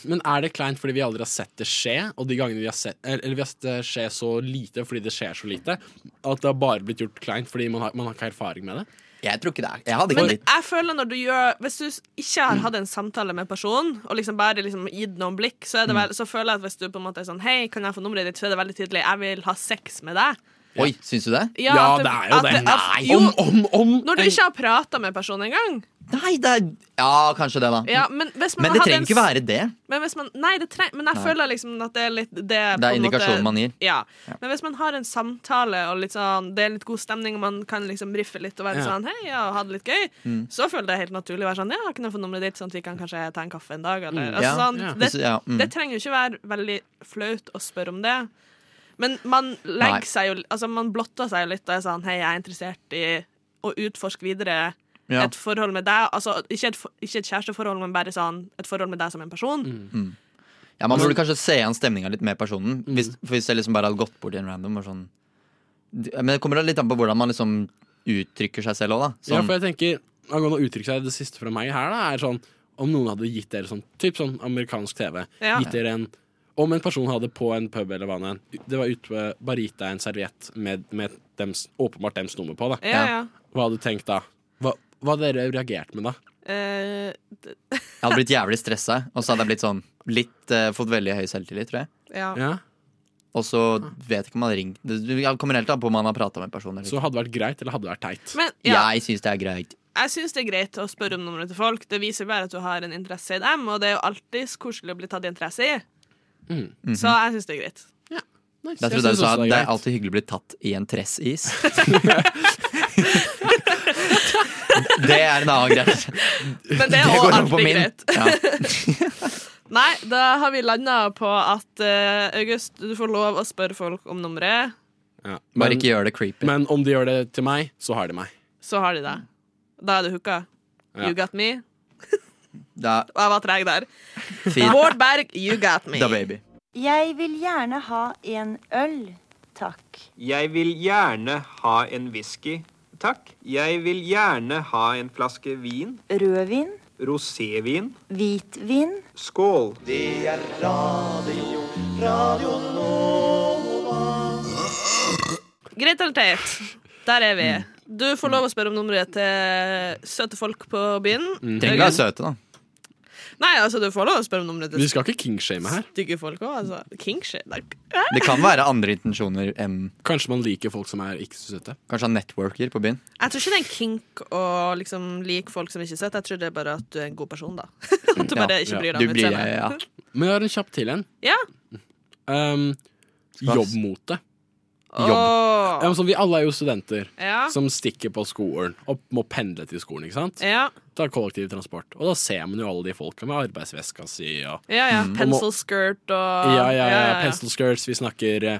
Men er det kleint fordi vi aldri har sett det skje, og de gangene vi har sett eller- Eller vi har sett det skje så lite fordi det skjer så lite, at det har bare blitt gjort kleint fordi man har, man har ikke erfaring med det?
Jeg tror ikke det Mm. er Jeg hadde ikke
Men
blitt
jeg føler når du gjør Hvis du s- ikke har hatt en samtale med personen, og liksom bare liksom gitt noen blikk, så,
Mm.
er det vel, så føler jeg at hvis du på en måte er sånn Hei, kan jeg få nummeret ditt? Så er det veldig tydelig. Jeg vil ha sex med deg.
Oi, syns du det?
Ja,
at
det er jo
at
det.
at- jo,
Om, om, om
når du ikke har prata med personen engang.
Nei, det er Ja, kanskje det, da.
Ja, men, hvis man
Men det
hadde
trenger
en
ikke
s-
være det.
Men, hvis man, nei, det treng, men jeg føler liksom at det er litt Det,
Det er indikasjonen man gir.
Ja. Men hvis man har en samtale, og litt sånn, det er litt god stemning, og man kan liksom riffe litt og være
Ja.
sånn hei, ja, og ha det litt gøy,
Mm.
så føler jeg det er helt naturlig å være sånn ja, kan jeg få nummeret ditt, sånn at vi kan kanskje ta en kaffe en dag, eller altså,
Mm. Ja.
sånn,
Ja.
Det,
Ja, mm.
det trenger jo ikke være veldig flaut å spørre om det. Men man
Nei.
legger seg jo Altså, man blotter seg jo litt og er sånn hei, jeg er interessert i å utforske videre
Ja.
et forhold med deg. Altså, ikke et, for- ikke et kjæresteforhold, men bare sånn et forhold med deg som en
Mm.
person.
Ja, Man burde kanskje se an stemninga litt med personen. Hvis, for hvis jeg liksom bare hadde gått bort til en random og sånn Men det kommer litt an på hvordan man liksom uttrykker seg selv òg, da.
Ja,
Sånn,
for jeg tenker Angående å uttrykke seg det siste fra meg her, da, er sånn Om noen hadde gitt dere sånn typ sånn amerikansk TV
Ja.
Gitt dere en Om en person hadde på en pub eller hva nå enn Det var ute ved- Bare gitt deg en serviett med, med dems, åpenbart dems nummer på, da.
Ja, ja.
Hva hadde du tenkt da? Hva, hva hadde dere reagert med da?
Eh, d-
Jeg hadde blitt jævlig stressa, og så hadde jeg blitt sånn litt eh, Fått veldig høy selvtillit, tror jeg.
ja.
Ja.
Og så vet jeg ikke om man har ringt Det det kommer helt an på om man har prata med personer.
Så hadde det vært greit, eller hadde det vært teit?
Men ja,
Jeg syns det er greit.
jeg syns det er greit å spørre om nummeret til folk. Det viser bare at du har en interesse i dem, og det er jo alltid koselig å bli tatt interesse i.
Mm.
Så jeg syns det er greit.
Nei,
Jeg
jeg
trodde du
synes
sa
også
at det
greit.
er alltid hyggelig å bli tatt i en tressis. det er en annen greie.
Men det
Det
er òg
går over på
alltid
min.
greit.
Ja.
Nei, da har vi landa på at eh, August, du får lov å spørre folk om nummeret,
Ja.
Bare
Men,
ikke gjør det creepy.
men om de gjør det til meg, så har de meg.
så har de det. Da er du hooka.
Ja.
You got me.
Da,
Og jeg var treg der.
fint,
Bård Berg, you got me.
da baby.
Jeg vil gjerne ha en øl, takk.
Jeg vil gjerne ha en whisky, takk. Jeg vil gjerne ha en flaske vin.
Rødvin,
Rosévin.
hvitvin.
Skål.
Greit eller teit? Der er vi. Du får lov å spørre om nummeret til søte folk på byen.
Mm.
Trenger ikke være søte, da.
Nei, altså, du får lov å spørre om nummeret
Vi
til
skal ikke kingshame her.
stygge folk òg, altså. Kingshit. Nei.
Det kan være andre intensjoner enn
Kanskje man liker folk som er ikke så søte.
Kanskje han networker på byen.
Jeg tror ikke det er en kink å liksom like folk som ikke er søte. Jeg tror det er bare at du er en god person, da. At
Mm.
du
Ja,
bare ikke bryr
Du
deg om
blir
utseendet.
ja.
Men jeg har en kjapp til en.
Ja.
Um,
vi-
Jobbmote. Ja,
Åh.
men sånn, vi alle er jo studenter
Ja.
som stikker på skolen og må pendle til skolen. ikke sant?
Ja.
Tar kollektivtransport. Og da ser man jo alle de folka med arbeidsveska si og
Ja, ja. Pencil skirt og
Mm. ja, ja, ja, pencil skirts. Vi snakker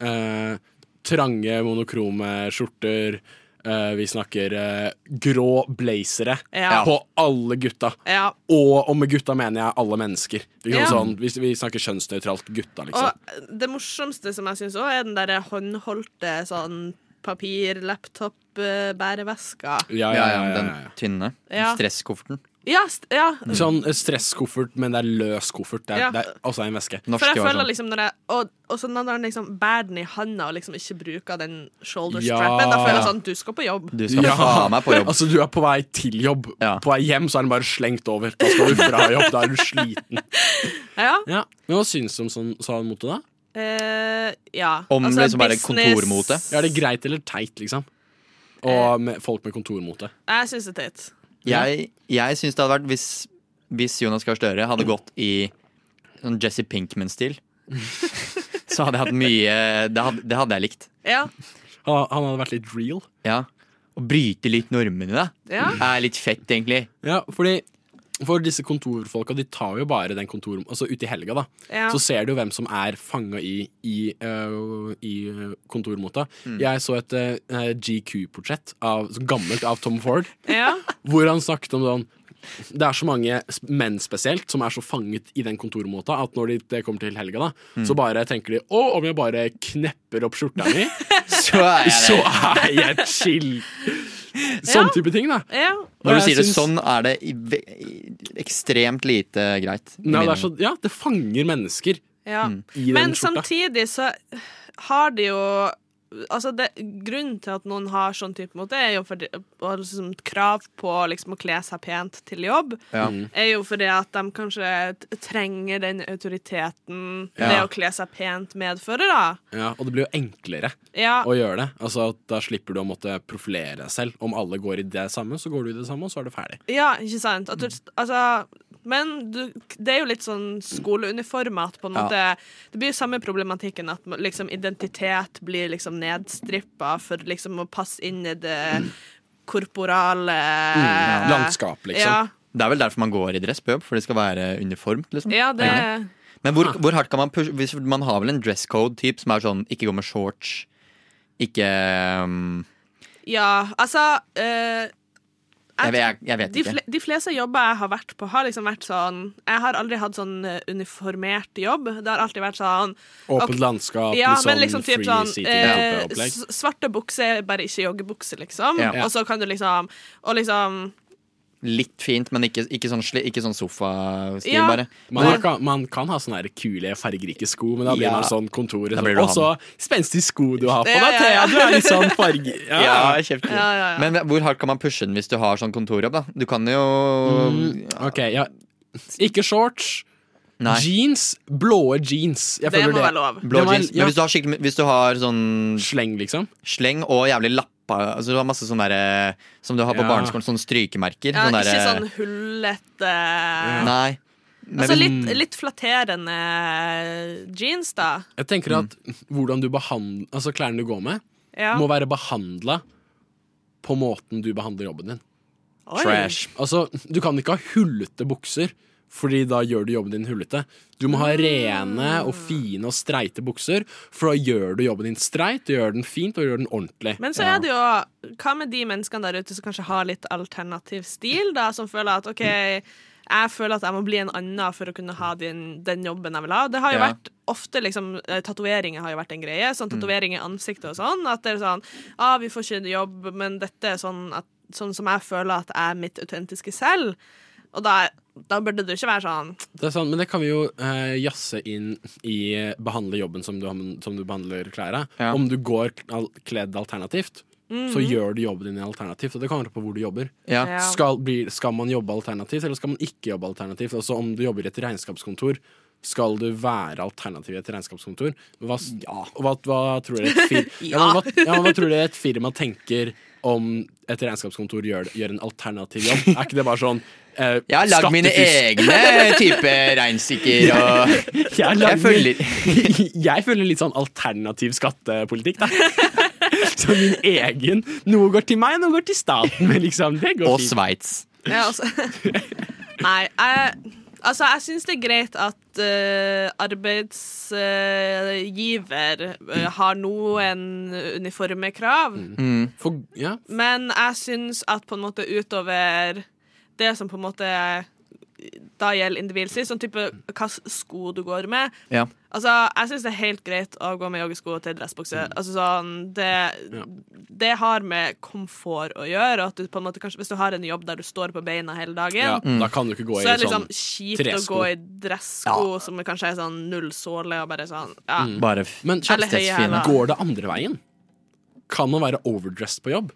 eh, trange, monokrome skjorter. eh, vi snakker eh, grå blazere
Ja.
på alle gutta.
ja.
Og, og med gutta mener jeg alle mennesker. Vi, kan
Ja.
sånn, vi, vi snakker kjønnsnøytralt gutta, liksom.
Og eh, det morsomste som jeg syns òg, er den der håndholdte sånn papir-laptop-bæreveska.
Ja,
Ja,
ja,
ja,
ja, ja,
den
ja.
tynne.
Ja.
Stresskofferten.
Ja, st ja.
Sånn stresskoffert, men det er løs koffert. Det er,
Ja.
det er også en veske.
Norsk
For jeg
i år,
føler
sånn.
liksom når jeg Og, og så når han liksom bærer den i handa og liksom ikke bruker den shoulder
Ja.
strappen, da føler jeg sånn Du skal på jobb.
Du skal faen meg på jobb.
Altså, du er på vei til jobb.
Ja.
På vei hjem så er den bare slengt over. Da skal du fra jobb, da er du sliten.
Ja.
Ja. Men hva syns du om sånn sånn mote, da?
Eh, ja.
Om liksom bare
business-
kontormote?
Ja, Er det greit eller teit, liksom? Og med folk med kontormote.
Jeg syns det er teit.
Jeg, jeg syns det hadde vært hvis, hvis Jonas Gahr Støre hadde gått i sånn Jesse Pinkman-stil. Så hadde jeg hatt mye Det hadde, det hadde jeg likt.
Ja.
Han, han hadde vært litt real.
Ja. Å bryte litt normene, da.
Ja.
Er litt fett, egentlig.
Ja, fordi for disse kontorfolka, de tar jo bare den kontor... Altså ute i helga, da.
Ja.
Så ser du jo hvem som er fanga i, i, øh, i øh, kontormota.
Mm.
Jeg så et øh, GQ-portrett, av, så gammelt, av Tom Ford,
ja.
hvor han snakket om sånn det er så mange sp- menn spesielt som er så fanget i den kontormota at når de, det kommer til helga, da,
Mm.
så bare tenker de å, om jeg bare knepper opp skjorta mi,
Så er jeg
så
det.
er jeg chill. Sånn
Ja.
type ting, da.
Ja.
Og
Når du
jeg
sier det
syns-
sånn, er det i, ve- i, ekstremt lite greit. i
Nei, det
mine
er så, ja, det fanger mennesker
Ja.
i den
Men
skjorta.
samtidig så har det jo Altså det, Grunnen til at noen har sånn type måte, er jo fordi og liksom, krav på liksom, å kle seg pent til jobb.
Ja.
Er jo fordi at de kanskje t- trenger den autoriteten
Ja.
det å kle seg pent medfører, da.
Ja, og det blir jo enklere
Ja.
å gjøre det. Altså at Da slipper du å måtte profilere deg selv. Om alle går i det samme, så går du i det samme, og så er det ferdig.
Ja, ikke sant? At du,
Mm.
altså, men du, det er jo litt sånn skoleuniformer at på en
Ja.
måte Det blir jo samme problematikken at liksom, identitet blir liksom nedstrippa for liksom å passe inn i det korporale
Mm, ja.
Eh,
liksom.
Ja.
Det er vel derfor man går i dress på jobb, for det skal være uniformt. liksom
Ja, det-
Egentlig. Men hvor, hvor hardt kan man pushe? Hvis man har vel en dresscode-typ som er sånn ikke gå med shorts, ikke um,
Ja, altså eh,
Jeg vet- jeg- jeg vet
de,
ikke.
fle- de fleste jobber jeg har vært på, har liksom vært sånn Jeg har aldri hatt sånn eh, uniformert jobb. Det har alltid vært sånn
Åpent
ok,
landskap,
ja,
litt
men
sånn
liksom typ
free
sånn
seating
eh,
type opplegg.
s- Svarte bukser, bare ikke joggebukse, liksom.
Ja.
Og så kan du liksom Og liksom
Litt fint, men ikke, ikke sånn, sli- ikke sånn sofastil,
Ja.
bare.
Man, har, kan- man kan ha sånne her kule, fargerike sko, men da blir
Ja.
man sånn kontoret
Da
sånn,
blir du
Og så
han.
spenstige sko du har på
Ja, ja,
deg,
ja.
Thea! Du er litt sånn farge... Ja,
kjempefint.
Ja, ja, ja.
Men hvor hardt kan man pushe den hvis du har sånn kontorjobb, da? Du kan jo
Mm, OK, ja. Ikke shorts.
Nei.
Jeans. Blåe jeans. Jeg
Det
føler
må være lov.
Blå
Det må-
jeans.
ja.
Men hvis du har, skikkelig- hvis du har sånn
Sleng, liksom.
sleng og jævlig lappa altså Du har masse sånne derre som du har på
Ja.
barneskolen, sånne strykemerker.
ja,
sånne
Ikke
derre-
sånn hullete
Nei. Men
Altså
hvis-
litt, litt flatterende jeans, da.
Jeg tenker at hvordan du behandler Altså klærne du går med,
Ja.
må være behandla på måten du behandler jobben din.
Oi.
Altså, du kan ikke ha hullete bukser, Fordi da gjør du jobben din hullete. Du må ha rene og fine og streite bukser, for da gjør du jobben din streit, du gjør den fint og du gjør den ordentlig.
Men så er det jo Hva med de menneskene der ute som kanskje har litt alternativ stil, da, som føler at OK, jeg føler at jeg må bli en annen for å kunne ha den, den jobben jeg vil ha. Det har jo
Ja.
vært ofte liksom eh, Tatoveringer har jo vært en greie. Sånn tatovering i ansiktet og sånn. At det er sånn ah, vi får ikke jobb, men dette er sånn, at, sånn som jeg føler at jeg er mitt autentiske selv. Og da, da burde det jo ikke være sånn
Det er sant, men det kan vi jo eh, jazze inn i eh, behandle jobben som du, som du behandler klærne.
Ja.
Om du går kl- al- kledd alternativt, så
Mhm.
gjør du jobben din alternativt. Og det kommer an på hvor du jobber.
Ja.
Ja.
Skal, bli, skal man jobbe alternativt, eller skal man ikke jobbe alternativt? Altså om du jobber i et regnskapskontor, skal du være alternativ i et regnskapskontor? Hva, s- og hva, hva, tror dere et fir ja. men hva, ja, men hva tror dere et firma tenker om et regnskapskontor gjør, gjør en alternativ jobb? Er ikke det bare sånn eh,
Jeg har lagd mine e-
skattefusk?
egne type regnstykker og
Jeg, har lagd
Jeg følger-
min- jeg følger litt sånn alternativ skattepolitikk, da. Så min egen Noe går til meg, noe går til staten. Men liksom, det går
Og
fint.
Sveits.
Ja, altså. Nei, jeg, altså jeg syns det er greit at eh, arbeidsgiver eh, har noen uniformekrav,
Mm.
For, ja,
men jeg syns at på en måte utover det som på en måte da gjelder individlig, sånn type hva slags sko du går med.
Ja.
Altså, Jeg syns det er helt greit å gå med joggesko til dressbukse.
Mm.
Altså sånn, det,
Ja.
det har med komfort å gjøre. og At du på en måte, kanskje, hvis du har en jobb der du står på beina hele dagen,
ja, da kan du ikke gå i
så er det
sånn
liksom kjipt
tresko.
å gå i dressko som kanskje er sånn null såle og bare sånn ja.
Bare
Men
Eller høye
kjærlighetsfine.
hæler.
Går det andre veien? Kan man være overdressed på jobb?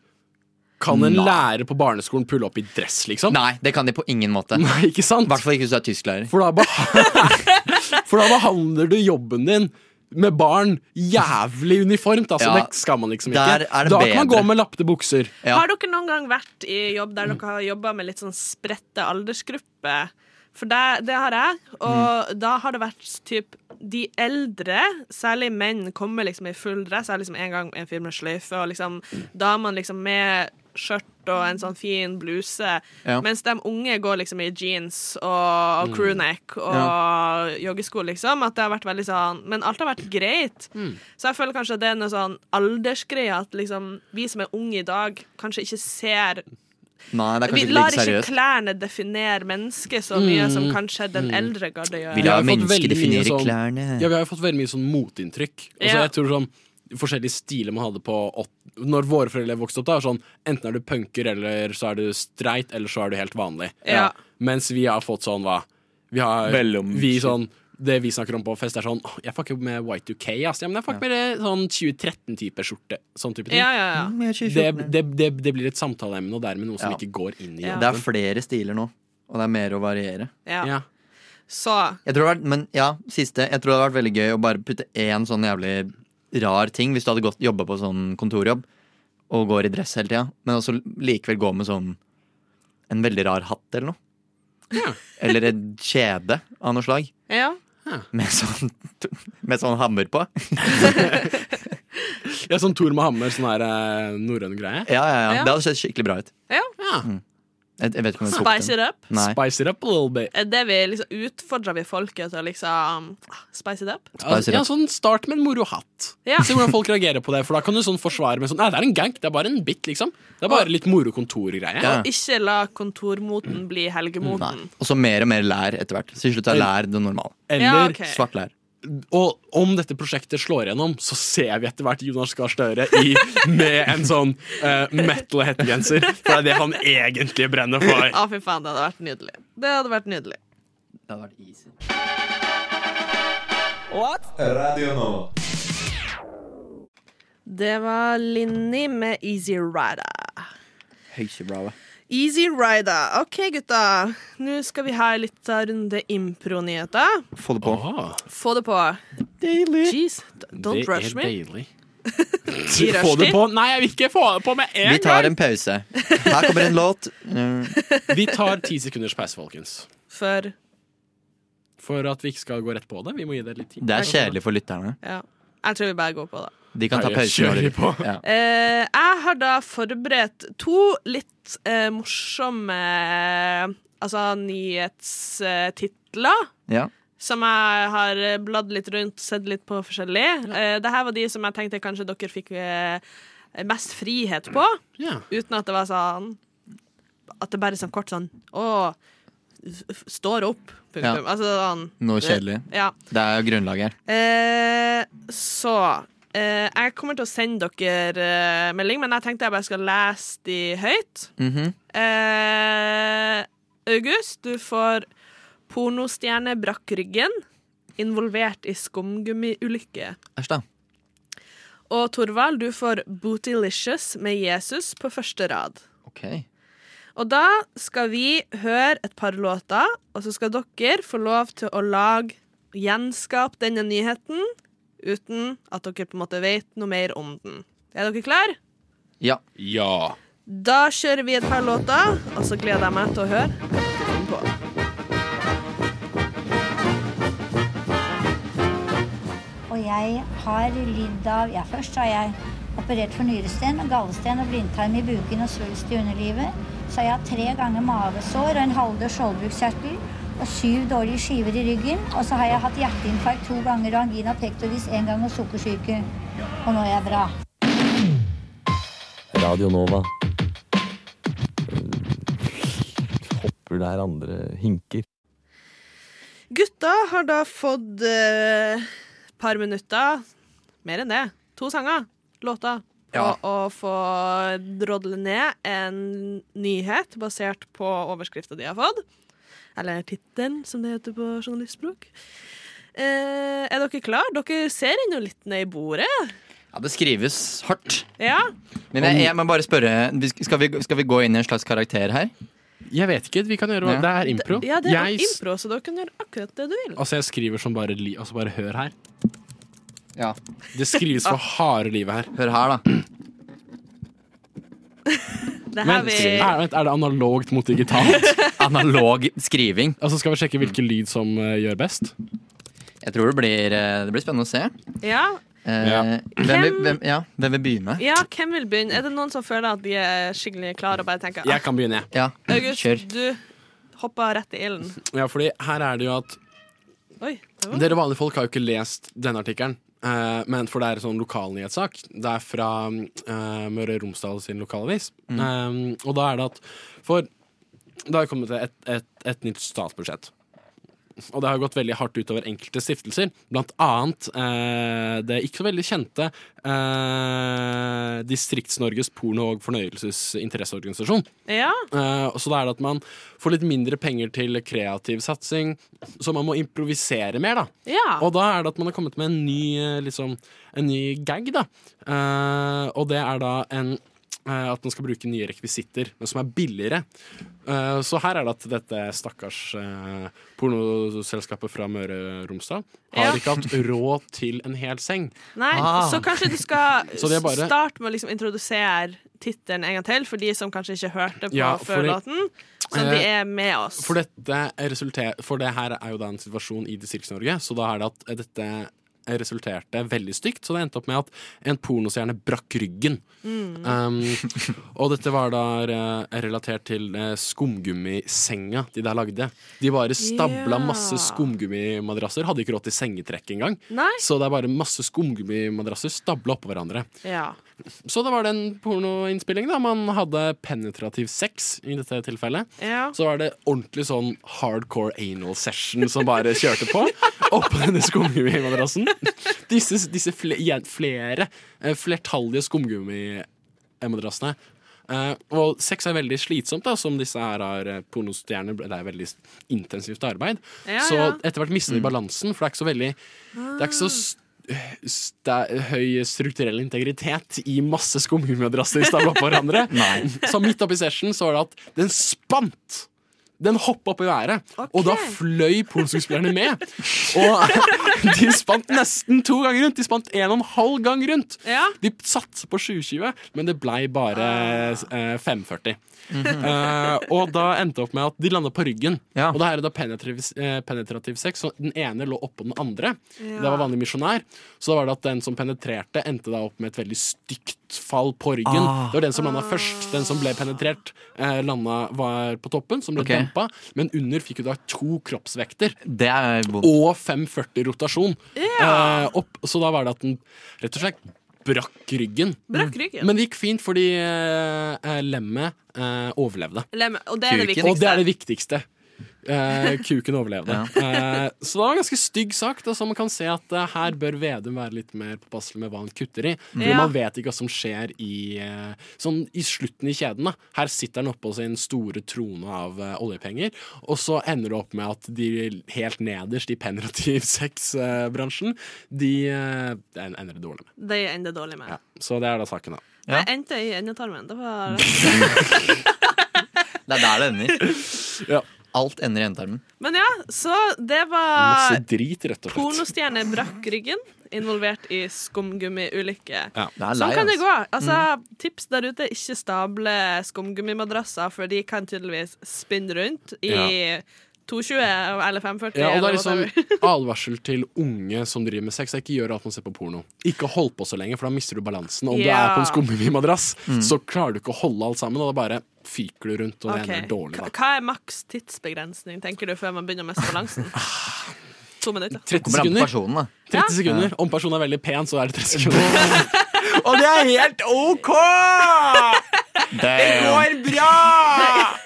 Kan en
Nei.
lærer på barneskolen pulle opp i dress, liksom?
Nei, det kan de på ingen måte. I
Nei, ikke sant?
hvert fall ikke hvis du er tysklærer.
For da, beha- For da behandler du jobben din med barn jævlig uniformt. Altså,
Ja.
Det skal man liksom ikke.
Der er det
da kan man
bedre.
gå med lappete bukser.
Ja.
Har dere noen gang vært i jobb der dere har jobba med litt sånn spredte aldersgrupper? For det, det har jeg, og da har det vært typ de eldre, særlig menn, kommer liksom i full dress. Jeg har liksom en gang en fyr med sløyfe, og liksom damene liksom med skjørt og en sånn fin bluse,
Ja.
mens de unge går liksom i jeans og,
Mm.
og crewneck og joggesko, liksom. At det har vært veldig sånn Men alt har vært greit.
Mm.
Så jeg føler kanskje at det er noe sånn aldersgreie at liksom vi som er unge i dag, kanskje ikke ser
Nei, det er kanskje
Vi
ikke
lar
like
ikke
seriøst. Mm.
klærne definere mennesket så mye som kanskje den eldre garde
Vi
gjør.
Jeg
lar
har fått
mennesker
veldig mye
definere
sånn-
klærne.
Ja, vi har jo fått veldig mye sånn motinntrykk. Altså,
Ja.
Jeg tror sånn forskjellige stiler man hadde på åt, Når våre foreldre vokste opp, da er sånn enten er du punker, eller så er du streit, eller så er du helt vanlig.
Ja.
Mens vi har fått sånn hva Vi har
Mellom-
vi sånn det vi snakker om på fest, er sånn «Åh, Jeg fucker med Y2K, ass. Ja, men jeg fucker med det, sånn 2013-type skjorte. Sånn type ting.
Ja, ja, ja. Mm, jeg er 2014,
Det, det, det, det blir et samtaleemne, og dermed noe som ikke går inn i
Det er flere stiler nå, og det er mer å variere.
Ja.
Ja.
Så
Jeg tror det har vært, men ja, siste Jeg tror det hadde vært veldig gøy å bare putte én sånn jævlig rar ting hvis du hadde gått jobba på sånn kontorjobb og går i dress hele tida, men også likevel gå med sånn en veldig rar hatt eller noe. Eller et kjede av noe slag.
Ja.
Med sånn, med sånn hammer på.
Ja, sånn Tor med hammer, sånn her eh, norrøn greie.
Ja, ja, ja.
Ja.
Det hadde sett skikkelig bra ut.
ja.
Mm. Jeg, jeg vet ikke om jeg tok
Spice
den.
it up.
Nei.
Spice it up a little bit.
Er det vi liksom utfordrer vi folket til å liksom ah, spice it up?
Spice it
Ja,
up.
sånn Start med en moro hatt.
Ja.
Se hvordan folk reagerer på det. For da kan du sånn forsvare med sånn Nei, det er en gank. Det er bare en bit, liksom. Det er bare litt moro kontorgreie.
Og ikke la kontormoten bli helgemoten.
Og så mer og mer lær etter hvert. Så til slutt er lær det normale.
Eller- Ja, ok.
svart lær.
Og om dette prosjektet slår gjennom, så ser vi etter hvert Jonas Gahr Støre i, med en sånn eh, metal-hettegenser. For det er det han egentlig brenner
Å,
for.
fy faen, det hadde vært nydelig. Det hadde vært nydelig.
Det hadde vært easy.
Radio Nova.
Det var Linni med Easy Rider.
Høysebrave.
Easy Rider. OK, gutta. Nå skal vi ha en liten runde impro-nyheter.
Få det på.
Få det på.
Deilig.
Jeez, d- don't rush me.
Deilig.
I
Få det
rushtid?
på. Nei, jeg vil ikke få det på med en gang.
Vi tar en pause. Her kommer en låt. Mm.
Vi tar ti sekunders pause, folkens.
For
For at vi ikke skal gå rett på det. Vi må gi det litt tid.
Det er kjedelig for lytterne.
Ja. Jeg tror vi bare går på det.
De kan ta
Nei,
pause.
jeg
når de-
kjører på.
Ja.
Eh, jeg har da forberedt to litt eh, morsomme eh, altså nyhetstitler.
Ja.
Som jeg har eh, bladd litt rundt, sett litt på forskjellig. Eh, Dette var de som jeg tenkte kanskje dere fikk eh, mest frihet på.
Ja.
Uten at det var sånn At det bare er sånn kort sånn Å, f- f- står opp. Punktum.
Ja.
Altså sånn
Noe kjedelig.
Ja.
Det er jo grunnlaget her.
Eh, så eh, Jeg kommer til å sende dere eh, melding, men jeg tenkte jeg bare skal lese de høyt.
Mhm.
Eh, August, du får pornostjerne brakk ryggen, involvert i skumgummiulykke.
Æsj, da.
Og Torvald, du får Bootylicious med Jesus på første rad.
Ok.
Og da skal vi høre et par låter, og så skal dere få lov til å lage gjenskape denne nyheten uten at dere på en måte vet noe mer om den. Er dere klare?
Ja.
Ja.
Da kjører vi et par låter, og så gleder jeg meg til å høre hva dere kommer på.
Og jeg har lidd av Ja, først har jeg operert for nyresten, gallesten og blindtarm i buken og svulst i underlivet. Så har jeg hatt tre ganger mavesår og en halvdød skjoldbruskkjertel og syv dårlige skiver i ryggen. Og så har jeg hatt hjerteinfarkt to ganger og angina pectoris én gang og sukkersyke. Og nå er jeg bra.
Radio Nova. Hopper der andre hinker.
Gutta har da fått et par minutter, mer enn det, to sanger, låter, på
Ja.
å få drodle ned en nyhet basert på overskrifta de har fått. Eller tittelen, som det heter på journalistspråk. Eh, er dere klar? Dere ser ennå litt ned i bordet.
ja, det skrives hardt.
Ja.
Men jeg, jeg må bare spørre, vi sk- skal vi, skal vi gå inn i en slags karakter her?
Jeg vet ikke. Vi kan gjøre Det er impro.
Ja, det er
Jeg s-
impro, så dere kan gjøre akkurat det du vil.
Altså, jeg skriver som bare li... Altså, bare hør her.
Ja.
Det skrives for harde livet her.
Hør her, da.
Det
Men,
her vi
er, vent, er det analogt mot digitalt?
Analog skriving.
Altså, skal vi sjekke hvilken lyd som eh, gjør best?
Jeg tror det blir, eh, det blir spennende å se.
ja.
Eh, hvem, vil, hvem, ja, hvem vil begynne?
ja, hvem vil begynne? Er det noen som føler at de er skikkelig klare og bare tenker
Jeg kan begynne, jeg.
Ja,
August, du hoppa rett i ilden.
Ja, fordi her er det jo at
Oi. det var-
Dere vanlige folk har jo ikke lest denne artikkelen. eh, men for det er en sånn lokalnyhetssak. Det er fra eh, Møre og Romsdal sin lokalavis. Eh, og da er det at For det har kommet et, et, et nytt statsbudsjett. Og det har gått veldig hardt utover enkelte stiftelser, blant annet eh, det ikke så veldig kjente eh, Distrikts-Norges porno- og fornøyelsesinteresseorganisasjon.
Ja.
Eh, så da er det at man får litt mindre penger til kreativ satsing, så man må improvisere mer, da.
Ja.
Og da er det at man har kommet med en ny, eh, liksom, en ny gag, da. Eh, og det er da en eh, at man skal bruke nye rekvisitter, men som er billigere. Eh, så her er det at dette stakkars eh, pornoselskapet fra Møre og Romsdal har
Ja.
ikke hatt råd til en hel seng.
Nei, så kanskje du skal
Ah. Så det er bare-
starte med å liksom introdusere tittelen en gang til, for de som kanskje ikke hørte på
Ja,
før
fordi-
låten. Sånn at de
Eh,
er med oss.
For, dette resulter, for det her er jo da en situasjon i Distrikts-Norge, så da er det at dette resulterte veldig stygt. Så det endte opp med at en pornostjerne brakk ryggen.
Mm.
Um, og dette var da eh, relatert til eh, skumgummisenga de der lagde. De bare stabla
Ja.
masse skumgummimadrasser. Hadde ikke råd til sengetrekk engang.
Nei.
Så det er bare masse skumgummimadrasser stabla oppå hverandre.
Ja.
Så da var det en pornoinnspilling da man hadde penetrativ sex i dette tilfellet.
Ja.
Så var det ordentlig sånn hardcore anal session som bare kjørte på. Oppå denne skumgummimadrassen. Disse, disse fle, igjen, flere eh, flertallige skumgummimadrassene. Eh, og sex er veldig slitsomt, da, som disse her har eh, pornostjerner. Det er veldig intensivt arbeid.
Ja,
så
ja.
etter hvert mister de balansen, for det er ikke så veldig det er ikke så s- s- det er høy strukturell integritet i masse skumgummimadrasser stabla på hverandre.
Nei.
Så midt oppi session så var det at den spant! Den hoppa opp i været, og da fløy pornoskuespillerne med. Og de spant nesten to ganger rundt. De spant en og en halv gang rundt.
Ja.
De satsa på 720, men det blei bare eh, 540.
Mhm.
Eh, og da endte det opp med at de landa på ryggen. Og da er det da penetrativ, eh, penetrativ sex, så den ene lå oppå den andre.
Ja.
Det var vanlig misjonær. Så da var det at den som penetrerte, endte da opp med et veldig stygt fall på ryggen.
Ah.
Det var den som landa først. Den som ble penetrert, eh, landa var på toppen, som ble
Ok.
dampa. Men under fikk jo da to kroppsvekter.
Det er vondt.
Og 540 rotasjon.
Ja.
Eh, opp, så da var det at den rett og slett brakk ryggen.
Brakk ryggen.
Men det gikk fint, fordi eh, eh, lemmet eh, overlevde.
Lem, og det er det
Og det
viktigste.
er det viktigste. Eh, kuken overlevde. Eh, så det var en ganske stygg sak. Da, så man kan se at eh, her bør Vedum være litt mer påpasselig med hva han kutter i. Fordi
Ja.
man vet ikke hva som skjer i, eh, sånn, i slutten i kjeden. Da. Her sitter han oppå sin store trone av eh, oljepenger, og så ender det opp med at de helt nederst i penetrativ sex-bransjen, de eh, det ender det dårlig med.
Det ender dårlig med.
Så det er da saken, da.
Jeg endte i endetarmen. Det var
Det er der det ender. Alt ender i endetarmen.
Men ja, så det
Masse
var
drit, rett og slett.
Pornostjerne brakk ryggen, involvert i skumgummiulykke.
Ja. Det Mm.
Sånn kan det gå. Altså, Tips der ute, ikke stable skumgummimadrasser, for de kan tydeligvis spinne rundt i
Ja.
220 eller 540.
Ja, og det
eller
er
whatever.
liksom advarsel til unge som driver med sex. er Ikke gjør at man ser på porno. Ikke hold på så lenge, for da mister du balansen. Om du
Ja.
er på en skumgummimadrass, så klarer du ikke å holde alt sammen, og da bare fyker du rundt, og det
Ok.
ender dårlig.
Hva-
Da.
Hva er maks tidsbegrensning, tenker du, før man begynner å miste balansen? To minutter.
30 sekunder.
Ja.
30 sekunder. Om personen er veldig pen, så er det 30 sekunder. og det er helt OK!
Det går
bra!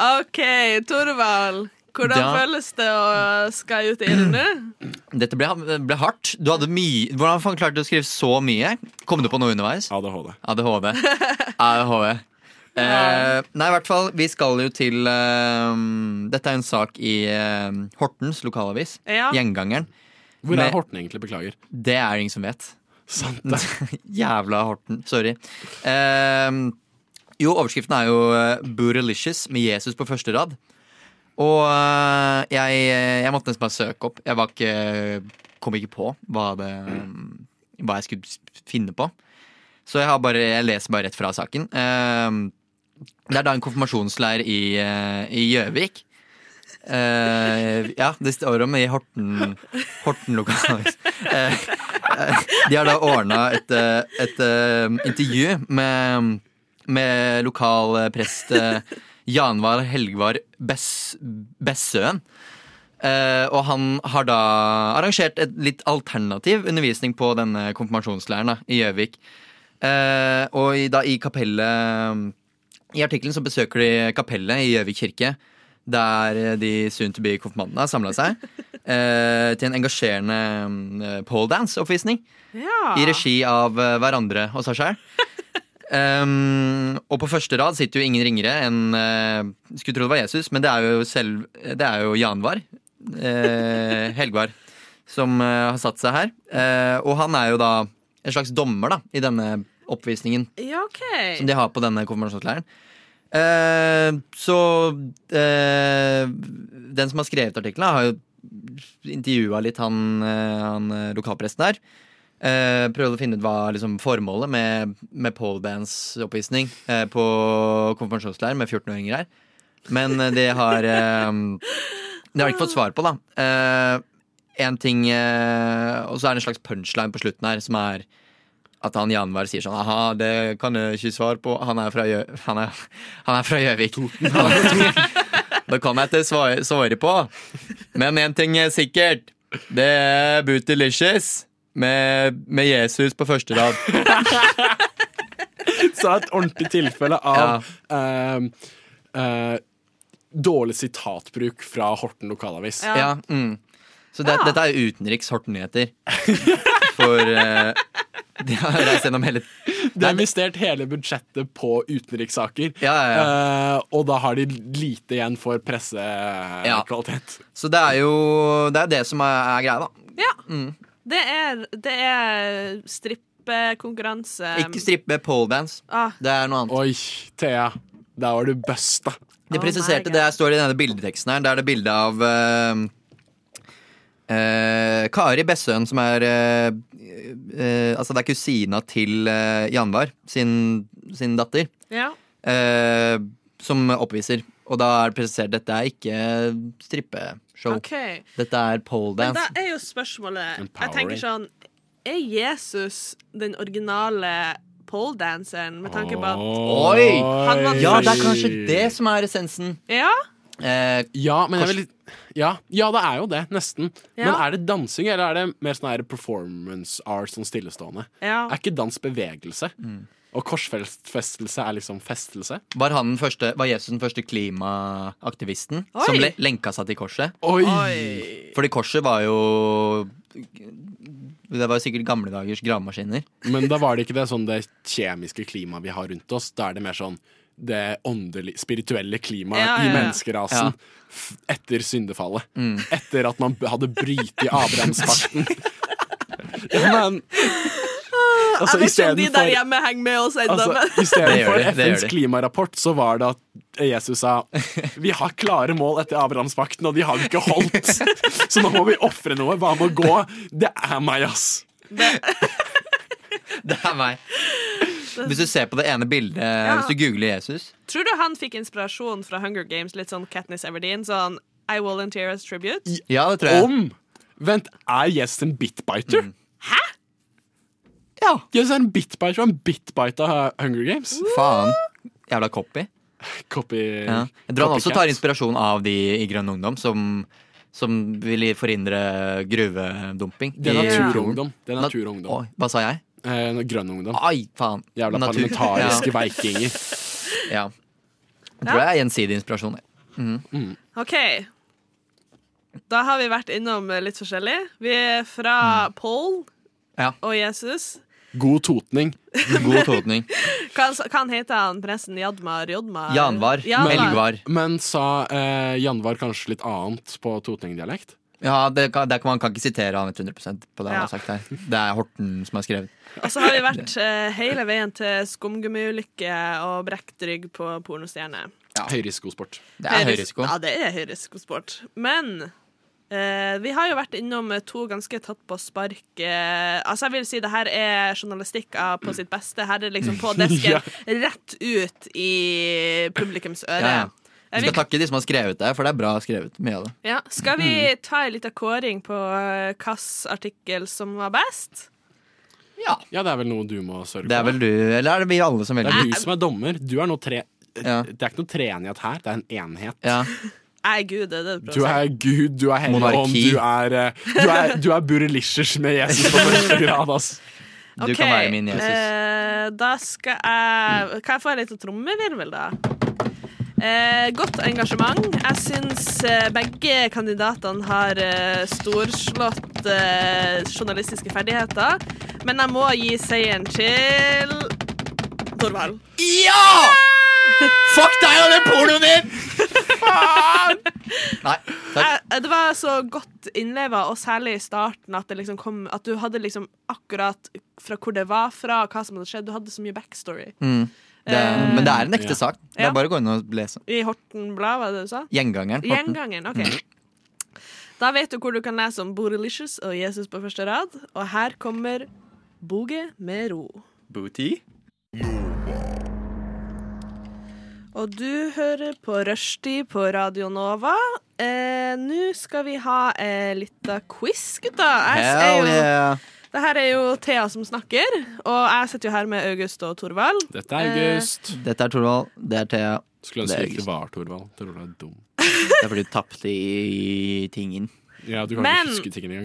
OK, Torvald. Hvordan
Ja.
føles det å skal ut i ilden nå?
Dette ble, ble hardt. Du hadde mye Hvordan faen klarte du å skrive så mye? Kom du på noe underveis?
ADHD.
ADHD. ADHD. Eh, nei, i hvert fall, vi skal jo til eh, Dette er jo en sak i eh, Hortens lokalavis.
Ja.
Gjengangeren.
Hvor
Med-
er Horten egentlig? Beklager.
Det er det ingen som vet.
Sant det.
Jævla Horten. Sorry. Eh, jo, overskriften er jo eh, 'Bootylicious' med Jesus på første rad. Og eh, jeg, jeg måtte nesten bare søke opp. Jeg var ikke, kom ikke på hva, det, mm, hva jeg skulle s- finne på. Så jeg, har bare, jeg leser bare rett fra saken. Eh, det er da en konfirmasjonsleir i eh, i Gjøvik. Eh, ja, det står om i Horten Horten lokalavis. Eh, eh, de har da ordna et, eh, et eh, intervju med, med lokal eh, prest eh, Janvar Helgvar Bess, Bessøen. Eh, og han har da arrangert et litt alternativ undervisning på denne konfirmasjonsleiren da, i Gjøvik. Eh, og i, da i kapellet I artikkelen så besøker de kapellet i Gjøvik kirke. der eh, de soon to be konfirmantene har samla seg eh, til en engasjerende eh, poledance-oppvisning.
Ja.
I regi av eh, hverandre og seg sjøl. Um, og på første rad sitter jo ingen ringere enn eh, Skulle tro det var Jesus, men det er jo, selv, det er jo Janvar. eh, Helgvar. Som eh, har satt seg her. Eh, og han er jo da en slags dommer da i denne oppvisningen
Ja, OK.
som de har på denne konfirmasjonsleiren. Eh, så eh, Den som har skrevet artiklene, har jo intervjua litt han, eh, han eh, lokalpresten der. Eh, prøvde å finne ut hva liksom, formålet med, med polebands-oppvisning eh, på konfirmasjonsleir med 14-åringer her. Men eh, det har eh, Det har de ikke fått svar på, da. Eh, en ting, eh, Og så er det en slags punchline på slutten her, som er at han Janvar sier sånn Aha, det kan jeg ikke svare på. Han er fra Gjø- han er- han er fra Gjøvik. Det kan jeg ikke svare, svare på. Men én ting er sikkert. Det er Bootylicious med, med Jesus på første rad.
Så et ordentlig tilfelle av eh, eh, dårlig sitatbruk fra Horten lokalavis.
Ja. mm. Så det, dette er utenriks Horten-nyheter. For eh, de har reist gjennom hele
De har investert hele budsjettet på utenrikssaker. Eh, og da har de lite igjen for pressekvalitet.
Så det er jo det, er det som er, er greia, da.
Ja.
Mm.
Det er, det er strippekonkurranse.
Ikke strippe poledance.
Um, Ah.
Det er noe annet.
Oi, Thea. Der var du busta.
De
Oh
presiserte det her står i denne bildeteksten her. Der er det bilde av eh, eh, Kari Bessøen, som er eh, eh, Altså, det er kusina til eh, Janvar sin, sin datter,
Ja.
eh, som oppviser. Og da er det presisert dette er ikke strippeshow.
Ok.
Dette er
Men da
poledance.
er jo spørsmålet Jeg
Empowering.
tenker sånn Er Jesus den originale poledanceren, med tanke på at
Oi!
Han var
Ja, det er
først.
kanskje det som er essensen. Eh,
Ja?
ja, men jeg
kors-
vil, ja, ja, det er jo det. Nesten. Men
Ja.
er det dansing, eller er det mer sånn her performance art, sånn stillestående?
Ja.
Er ikke dans bevegelse?
Mm.
Og korsfestfestelse er liksom festelse?
Var, han den første, var Jesus den første klimaaktivisten som
Oi!
le, lenka seg til korset?
Oi!
Fordi korset var jo Det var jo sikkert gamle dagers gravemaskiner.
Men da var det ikke det sånn det kjemiske klimaet vi har rundt oss. Da er det mer sånn det åndelig, spirituelle klimaet
Ja, ja,
i
ja.
menneskerasen
Ja. Mm.
f- etter syndefallet. Etter at man b- hadde brytet Abrahamspakten. ja, men
Jeg vet ikke om
altså,
de
istedenfor-
der hjemme henger med oss ennå,
altså,
men
Istedenfor
det gjør
FNs
de.
klimarapport så var det at Jesus sa Vi har klare mål etter Abrahamspakten, og de har vi ikke holdt. Så nå må vi ofre noe. Hva med å gå? Det er meg, ass.
Det er meg. Hvis du ser på det ene bildet, hvis du googler Jesus
Tror du han fikk inspirasjon fra Hunger Games, litt sånn Katniss Everdeen? Sånn I volunteer as tribute?
Ja, det tror jeg.
Om Vent, er Jesus en bitbiter?
Mm. Hæ? Ja.
Jesus er en bitbiter og en bitbite av Hunger Games.
Faen. Jævla copy.
Copy
Ja. Jeg tror han også
copycat.
tar inspirasjon av de i Grønn Ungdom som, som vil forhindre gruvedumping.
Det er
i fjorden.
naturungdom. Det er
Nat-
naturungdom.
Oi, hva sa jeg?
Eh, grønn ungdom.
Ai, faen.
Jævla
Natur-
parlamentariske
Ja.
veikinger.
Ja. Jeg tror det er gjensidig inspirasjon. jeg. Mhm.
OK. Da har vi vært innom eh, litt forskjellig. Vi er fra Paul
Ja.
og Jesus.
God totning.
God totning.
Hva, hva han heter han presten? Jadmar? Jodmar?
Men sa eh, Janvar kanskje litt annet på totningdialekt?
Ja, det kan, det kan, man kan ikke sitere han 100 på det han
Ja.
har sagt her. Det er Horten som har skrevet.
Og så har vi vært eh, hele veien til skumgummiulykke og brekt rygg på pornostjerne.
Høyrisikosport.
Det er høyrisiko.
Ja, det er høyrisikosport. Men eh, vi har jo vært innom to ganske tatt på spark. eh, altså jeg vil si det her er journalistikk av på sitt beste. Her er det liksom på desken,
Ja.
rett ut i publikums
Ja,
øre.
ja. Vi
Jeg
skal
vil-
takke de som har skrevet det, for det er bra skrevet. Mye av det.
Ja, skal vi
Mm.
ta en liten kåring på eh, hvilken artikkel som var best?
Ja, det er vel noe du må sørge for.
Det er vel du, eller er det vi alle som
Det
velger?
er du som er dommer. Du er nå tre... Det er ikke noe treenighet her, det er en enhet.
Jeg er gud, det er det du
Du
prøver å
er
si.
Gud, du er Helligånd,
Monarki.
du er eh, Du er, du er Burelisjers med Jesus på første grad, ass.
Du kan være min Jesus.
Eh, da skal jeg Kan jeg få en liten trommevirvel, da? Eh, godt engasjement. Jeg syns eh, begge kandidatene har eh, storslått eh, journalistiske ferdigheter, men jeg må gi seieren til Torvald.
Ja! Fuck deg og den pornoen din!
Jeg, eh, det var så godt innleva, og særlig i starten, at, det liksom kom, at du hadde liksom akkurat fra hvor det var fra, hva som hadde skjedd. Du hadde så mye backstory.
Mm. Det,
Eh,
men det er en ekte
ja.
sak. Det
Ja.
er bare å gå inn og lese.
I Horten Blad, var det det du sa?
Gjengangeren. Horten.
Gjengangeren, ok. Da vet du hvor du kan lese om Borilicious og Jesus på første rad, og her kommer Boge med ro.
Booty.
Og du hører på Rushdie på Radio Nova. Eh, Nå skal vi ha eh, litt av quiz, gutta.
Hell yeah.
Det her er jo Thea som snakker, og jeg sitter jo her med August og Torvald.
Dette er Torvald. Eh, Det er Thea.
Skulle ønske det ikke var Torvald. Torvald er dum.
Det er fordi du tapte i tingen.
Ja, du
Men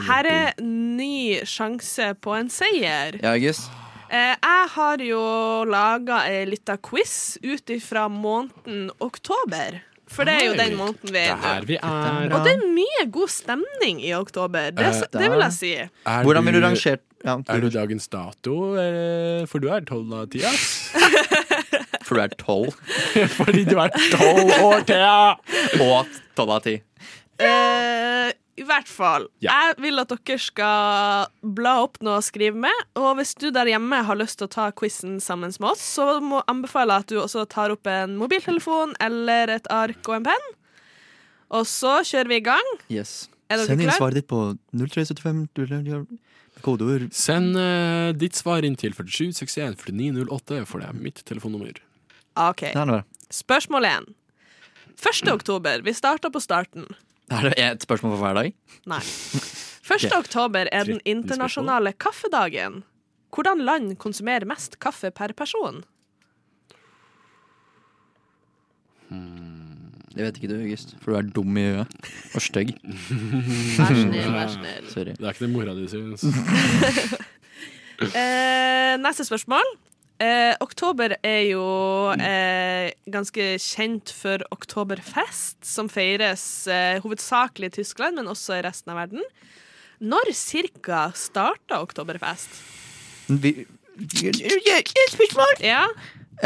her eh, er ny sjanse på en seier.
Ja, August.
Eh, jeg har jo laga ei lita quiz ut ifra måneden oktober. For det er jo
Oi.
den måneden vi er
Det er her vi er,
Og det er mye god stemning i oktober. Det,
Eh,
det vil jeg si.
Er
Hvordan vil du rangere-
Er du dagens dato? eh, For du er tolv av ti, ass.
For du er tolv.
Fordi du er tolv år, Thea!
Og tolv av ti.
Eh, I hvert fall. Jeg vil at dere skal bla opp noe å skrive med. Og hvis du der hjemme har lyst til å ta quizen sammen med oss, så må anbefaler jeg at du også tar opp en mobiltelefon eller et ark og en penn. Og så kjører vi i gang.
Yes.
Er dere
Send inn
klar?
svaret ditt på 0375 00, kodeord
Send eh, ditt svar inn til 47614908, for det er mitt telefonnummer.
OK.
Det er noe.
Spørsmål én. 1. oktober. Vi starter på starten.
Er det et spørsmål for hver dag?
Nei. 1.
Ok.
oktober er den
13
internasjonale kaffedagen. Hvordan land konsumerer mest kaffe per person?
Det vet ikke du, August. For du er dum i øyet. Og stygg.
Vær snill, vær snill.
Sorry.
Det er ikke det mora di syns.
Eh, neste spørsmål. Eh, oktober er jo eh, ganske kjent for oktoberfest, som feires eh, hovedsakelig i Tyskland, men også i resten av verden. Når cirka starta oktoberfest?
Vi-
Spørsmål! Ja.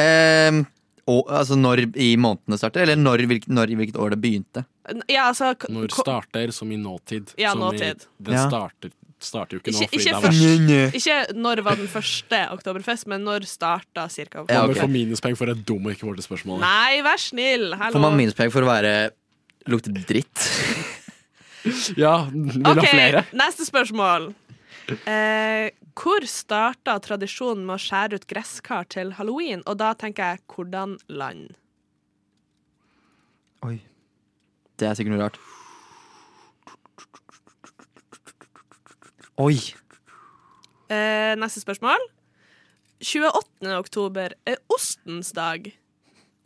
Ehm, og, altså når i månedene starter, eller når, hvilket, når i hvilket år det begynte?
N- ja, altså k-
Når
ko-
starter som i nåtid.
Ja,
som
nåtid.
I, den
Ja.
starter, starter jo ikke nå,
Ikke,
fordi
ikke,
det er
først,
verst.
ikke når var den første oktoberfest, men når starta cirka
Ja,
oktoberfest?
får minuspoeng for et dumt ikke vårt spørsmål.
Nei, vær snill! Hallo.
Får man minuspoeng for å være lukte dritt?
Ja, vil
Ok, Neste spørsmål. Eh, hvor starta tradisjonen med å skjære ut gresskar til halloween? Og da tenker jeg hvordan land?
Det er sikkert noe rart. Oi!
Eh, neste spørsmål. 28. oktober er ostens dag.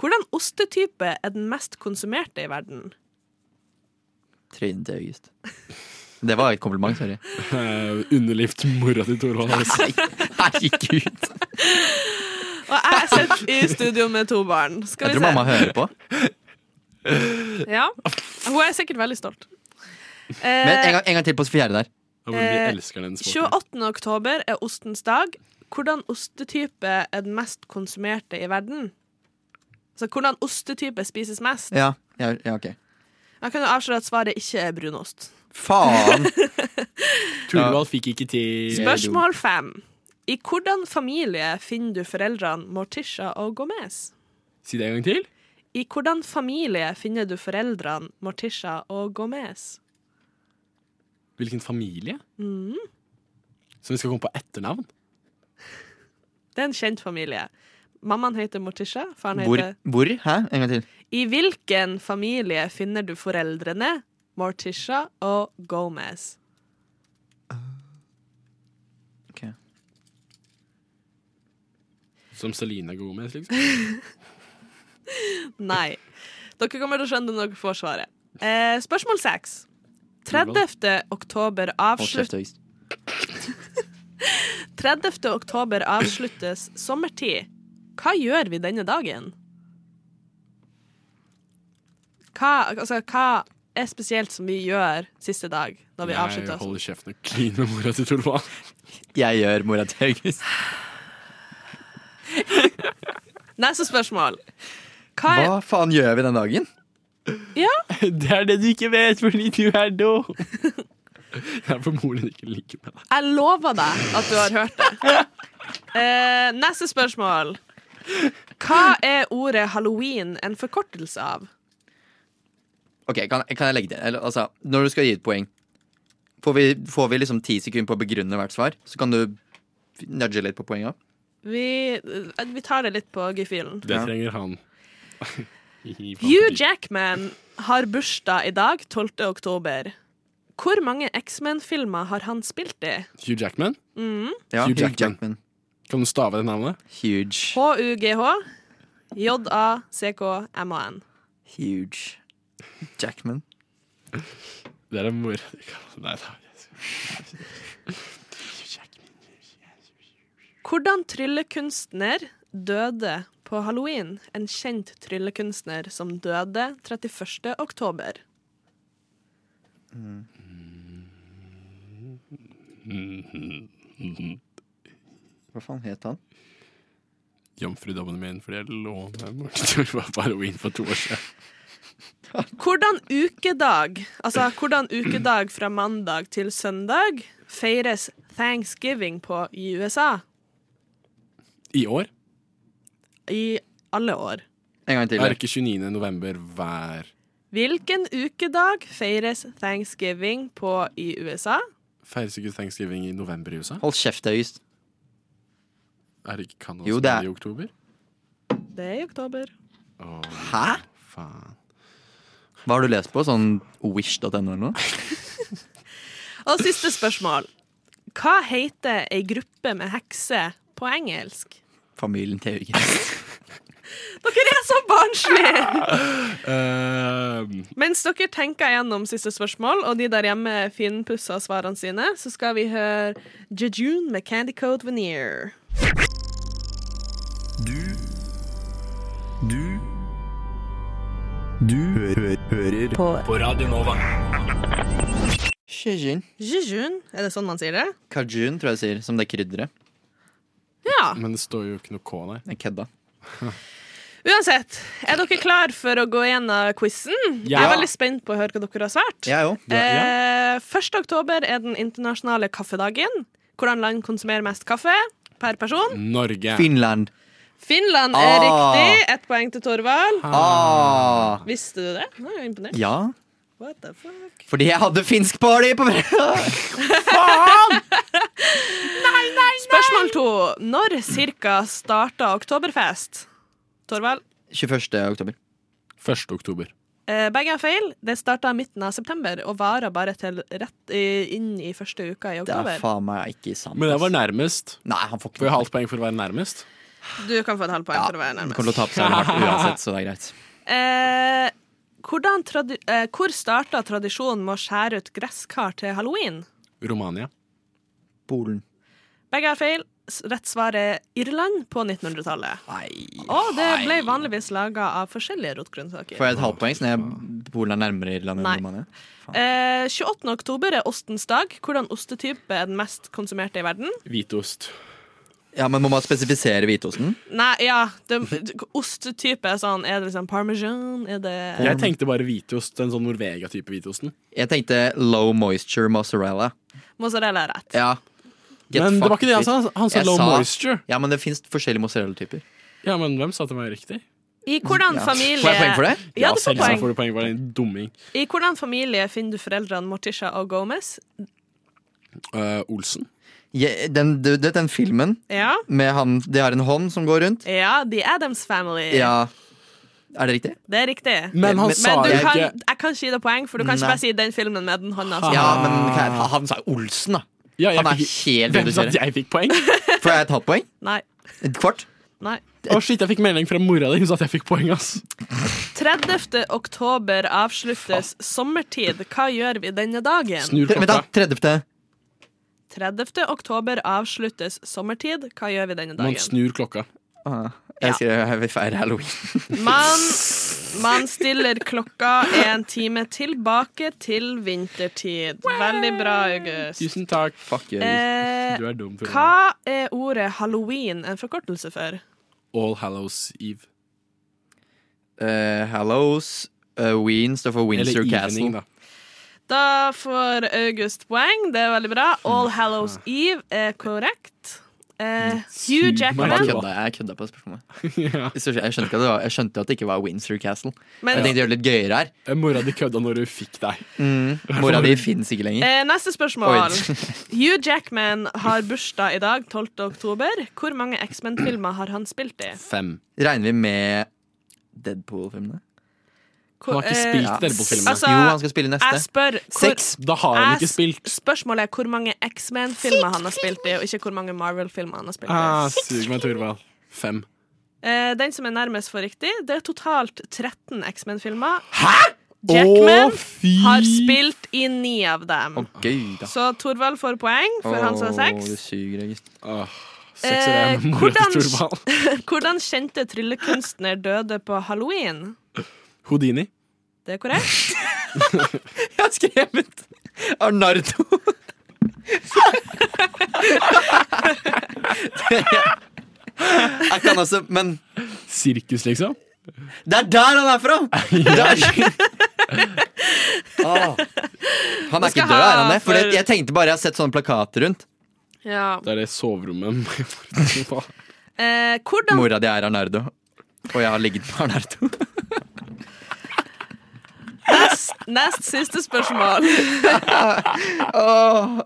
Hvordan ostetype er den mest konsumerte i verden?
Trynet til August. Det var et kompliment, sorry.
Uh, underlivt mora til Torvald.
Nei, herregud!
Og jeg sitter i studio med to barn. Skal
Jeg
vi
tror
se.
mamma hører på.
Ja. Hun er sikkert veldig stolt. Eh,
Men en gang, en gang til på fjerde der.
Eh, 28. oktober er ostens dag. Hvordan ostetype er den mest konsumerte i verden? Altså, hvordan ostetype spises mest?
Ja, ja, ja ok.
Jeg kan jo avsløre at svaret ikke er brunost.
Faen!
Torvald fikk ikke til
Spørsmål fem. I hvordan familie finner du foreldrene Morticia og Gomez?
Si det en gang til.
I hvordan familie finner du foreldrene Morticia og Gomez?
Hvilken familie?
Mm.
Som vi skal komme på etternavn?
Det er en kjent familie. Mammaen heter Morticia, faren
Hvor?
heter
Hvor? Hæ? En gang til.
I hvilken familie finner du foreldrene Morticia og Gomez?
Som Selina Gomez, liksom?
Nei. Dere kommer til å skjønne når dere får svaret. Eh, spørsmål seks. 30. oktober
Hold kjeft, August.
avslutt... 30. oktober avsluttes sommertid. Hva gjør vi denne dagen? Hva, altså, hva er spesielt som vi gjør siste dag, når vi avslutter
Jeg
oss?
holder kjeften og kliner med mora til Torva.
Jeg gjør mora til August.
Neste spørsmål. Hva er
Hva faen gjør vi den dagen?
Ja?
Det er det du ikke vet fordi du er dum. Det er for moren din ikke liker meg.
Jeg lover deg at du har hørt det. Eh, neste spørsmål. Hva er ordet halloween en forkortelse av?
Ok, kan, kan jeg legge til? Eller, altså, når du skal gi et poeng, får vi, får vi liksom ti sekunder på å begrunne hvert svar? Så kan du nudge litt på poenga?
Vi, eh, vi tar det litt på gefühlen.
Det trenger han.
Hugh Jackman har bursdag i dag, 12. oktober. Hvor mange X-Men-filmer har han spilt i?
Hugh Jackman?
Mm.
Hugh Jackman. Kan du stave det navnet?
Huge.
H-U-G-H. J-A-C-K-M-A-N.
Huge. Jackman.
Det er en mor Nei da.
Hvordan tryllekunstner døde på halloween? En kjent tryllekunstner som døde 31. oktober.
Hva faen het han?
Jomfrudommen min, fordi jeg lå med mor til Torva på halloween for to år siden.
Hvordan ukedag, altså hvordan ukedag fra mandag til søndag, feires thanksgiving på i USA
I år?
i alle år?
En gang til.
Er ikke 29. november hver
Hvilken ukedag feires thanksgiving på i USA?
Feires ikke thanksgiving i november i USA?
Hold kjeft, August.
Er det ikke Canada
Jo,
som
det
er
er-
i oktober?
Det er i oktober.
Åh,
Hæ?
Faen.
Hva har du lest på? Sånn wish.no eller noe?
Og siste spørsmål. Hva heter ei gruppe med hekser på engelsk?
Familien til August.
Dere er så barnslige!
Ehm,
Mens dere tenker gjennom siste spørsmål, og de der hjemme finpusser svarene sine, så skal vi høre Jejune med Candy Coat Veneer.
Du Du Du hø hø hører på. Radio Nova.
Jejun.
Jejune, er det sånn man sier det?
Kajun, tror jeg jeg sier, som det krydderet.
Ja.
Men det står jo ikke noe K, nei.
Jeg kødda.
Uansett, er dere klar for å gå gjennom quizen? Jeg
Ja.
er veldig spent på å høre hva dere har svart.
Jeg òg.
Eh, 1. oktober er den internasjonale kaffedagen. Hvordan land konsumerer mest kaffe per person?
Norge.
Finland.
Finland er
Ah.
riktig. Ett poeng til Torvald.
Ah.
Visste du det? Nå er jeg imponert.
Ja.
What the fuck?
Fordi jeg hadde finsk party på
Spørsmål to. Når cirka starta oktoberfest? Torvald,
21. oktober.
1. oktober.
eh, begge er feil. Det starta midten av september og varer bare til rett i, inn i første uka
Det
i
er
oktober.
faen meg ikke sant.
Men jeg var nærmest.
Nei, han får ikke
Får jeg halvt poeng for å være nærmest?
Du kan få et halvt poeng for å være
Du
nærmest.
kommer til å tape så jævlig hardt uansett, så det er greit.
Eh, hvordan tradi eh, hvor starta tradisjonen med å skjære ut gresskar til halloween?
Romania.
Polen.
Begge har feil. S- Rett svar er Irland på 1900-tallet. Og det ble vanligvis laga av forskjellige rotgrønnsaker.
Får jeg et halvt poeng siden jeg Polen er nærmere Irland enn
Nei.
Romania?
Eh, 28. oktober er ostens dag. Hvordan ostetype er den mest konsumerte i verden?
Hvitost.
Ja, men må man spesifisere hvitosten?
Nei, ja, det, Ostetype er sånn Er det liksom parmesan? Er det
Jeg tenkte bare hvitost. Den sånn Norvegia-type hvitosten.
Jeg tenkte low moisture mozzarella.
Mozzarella er rett.
Ja.
Men det var ikke det han sa. Han sa
Jeg
low moisture.
Ja, men det fins forskjellige mozzarella-typer.
Ja, men hvem sa at det var riktig?
I hvordan
Ja.
familie
Får jeg poeng for det?
Ja, du får
selvsagt
poeng.
får du poeng for det. din Dumming.
I hvordan familie finner du foreldrene Morticia og Gomez?
Eh, Olsen.
Je- den, du, vet den filmen
Ja.
med han De har en hånd som går rundt?
Ja, The Adams Family.
Ja. Er det riktig?
Det er riktig.
Men han sa
du
jo ikke-
kan, Jeg kan ikke gi deg poeng, for du
Nei.
kan ikke bare si den filmen med den hånda. som-
Ja, men hva- han sa jo Olsen, da.
Ja, Ah. jeg
han er
fikk-
helt
Hvem sa
reduserende.
at jeg fikk poeng?
Får jeg et halvt poeng?
Nei.
Et kvart?
Nei.
Å shit, jeg fikk melding fra mora di. Hun sa at jeg fikk poeng, ass.
30. oktober avsluttes sommertid. Hva gjør vi denne dagen?
Vent, da. 30.
30. oktober avsluttes sommertid. Hva gjør vi denne
Man
dagen?
snur klokka.
eh, Ah, jeg skrev jeg vil feire halloween.
Man Man stiller klokka en time tilbake til vintertid. Veldig bra, August.
Tusen takk. Fuck, jeg,
Eh,
du er dum. Tor.
Hva er ordet halloween en forkortelse for?
All Hallows Eve.
Eh, Hallows eh, Ween står for Windsor
Eller
Castle.
evening, da.
Da får August poeng. Det er veldig bra. All Hallows Eve er korrekt. Eh, Hugh
Men Jeg
Jackman.
kødda, jeg kødda på spørsmålet. Jeg skjønte ikke at det var- jeg skjønte at det ikke var Windsor Castle.
Men-
jeg tenkte å gjøre det litt gøyere her.
Eh, Mora di kødda når hun fikk deg.
Mm. Mora di finnes ikke lenger.
Eh, neste spørsmål.
Oi.
Hugh Jackman har bursdag i dag, 12. oktober. Hvor mange X-Men-filmer har han spilt i?
Fem.
Regner vi med Deadpool-filmene?
Hvor- Han har ikke eh, spilt Deadpool-filmene. altså,
jo, han skal spille neste.
Jeg spør hvor-
Seks. Da har han
Jeg
ikke
s-
spilt.
Spørsmålet er hvor mange X-Men-filmer han har spilt i, og ikke hvor mange Marvel-filmer han har spilt i.
Ah, Sug meg, Torvald. Fem.
Eh, den som er nærmest for riktig, det er totalt 13 X-Men-filmer.
Å,
Jackman
fy
har spilt i ni av dem.
Gøy, da.
Så Torvald får poeng, for han sa
Åh,
seks.
det suger, August.
Eh, hvordan, hvordan kjente tryllekunstner døde på halloween?
Houdini.
Det er korrekt.
Jeg har skrevet Arnardo. Jeg kan også, men
Sirkus, liksom?
Det er der han er fra! Der- Ah. Han
Du
er ikke
skal
død, er han
ha
det? For det-
for-
jeg tenkte bare jeg har sett sånne plakater rundt.
Ja.
Det er det soverommet
Eh, hvordan
Mora di er Arnardo. Og jeg har ligget med Arnardo.
nest, nest siste spørsmål.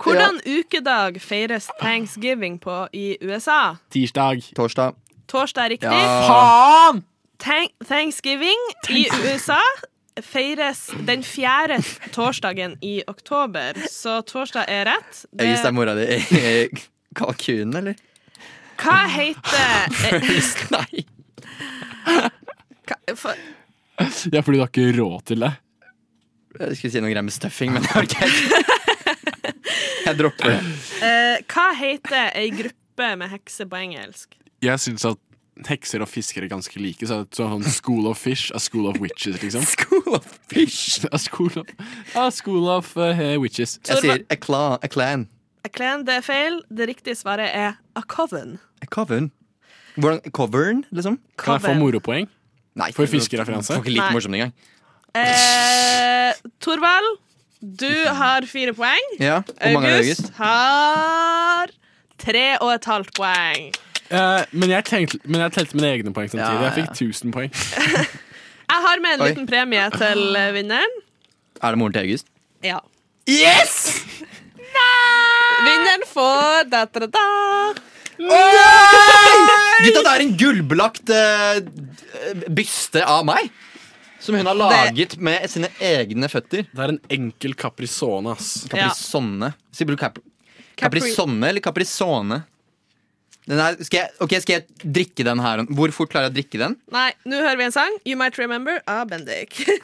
Hvordan ukedag feires thanksgiving på i USA?
Tirsdag.
Torsdag.
Torsdag er riktig.
Ja.
Faen!
Thank Thanksgiving i USA feires den fjerde torsdagen i oktober, så torsdag er rett.
August, er
Det,
mora di kalkunen, eller?
hva heter
August, nei.
Hva- eh, for-
Ja, fordi du har ikke råd til det.
Jeg skulle si noe greier med stuffing, men det orker jeg ikke. Jeg dropper det.
eh, Hva heter ei gruppe med hekser på engelsk?
Jeg syns at hekser og fisker er ganske like. Så det er sånn School of fish er school of witches, liksom.
School of
fish er school of, er school of eh, witches.
Jeg sier a, cla a clan.
A clan, det er feil. Det riktige svaret er a coven.
A covern. Hvordan, covern, liksom?
Kan jeg få moropoeng?
Nei.
For fiskereferanse?
Det var ikke
Nei.
like morsomt engang.
Eh, Torvald, du har fire poeng.
Ja, hvor mange er det, August?
har tre og et halvt poeng.
Eh, men, jeg tenkte, men jeg telte mine egne poeng samtidig.
Ja, ja,
Jeg fikk 1000 poeng.
Jeg har med en
Oi.
liten premie til eh, vinneren.
Er det moren til August?
Ja.
Yes!
Vinneren får da, da, da.
Gutta, det er en gullbelagt eh, d- byste av meg. Som hun har laget med sine egne føtter.
Det er en enkel caprisone, ass.
Caprisonne. Sier du cap
Capri-
caprisonne eller caprisone? Den her, skal, jeg, ok, skal jeg drikke den her? Hvor fort klarer jeg å drikke den?
Nei, nå hører vi en sang. You Might Remember av Bendik.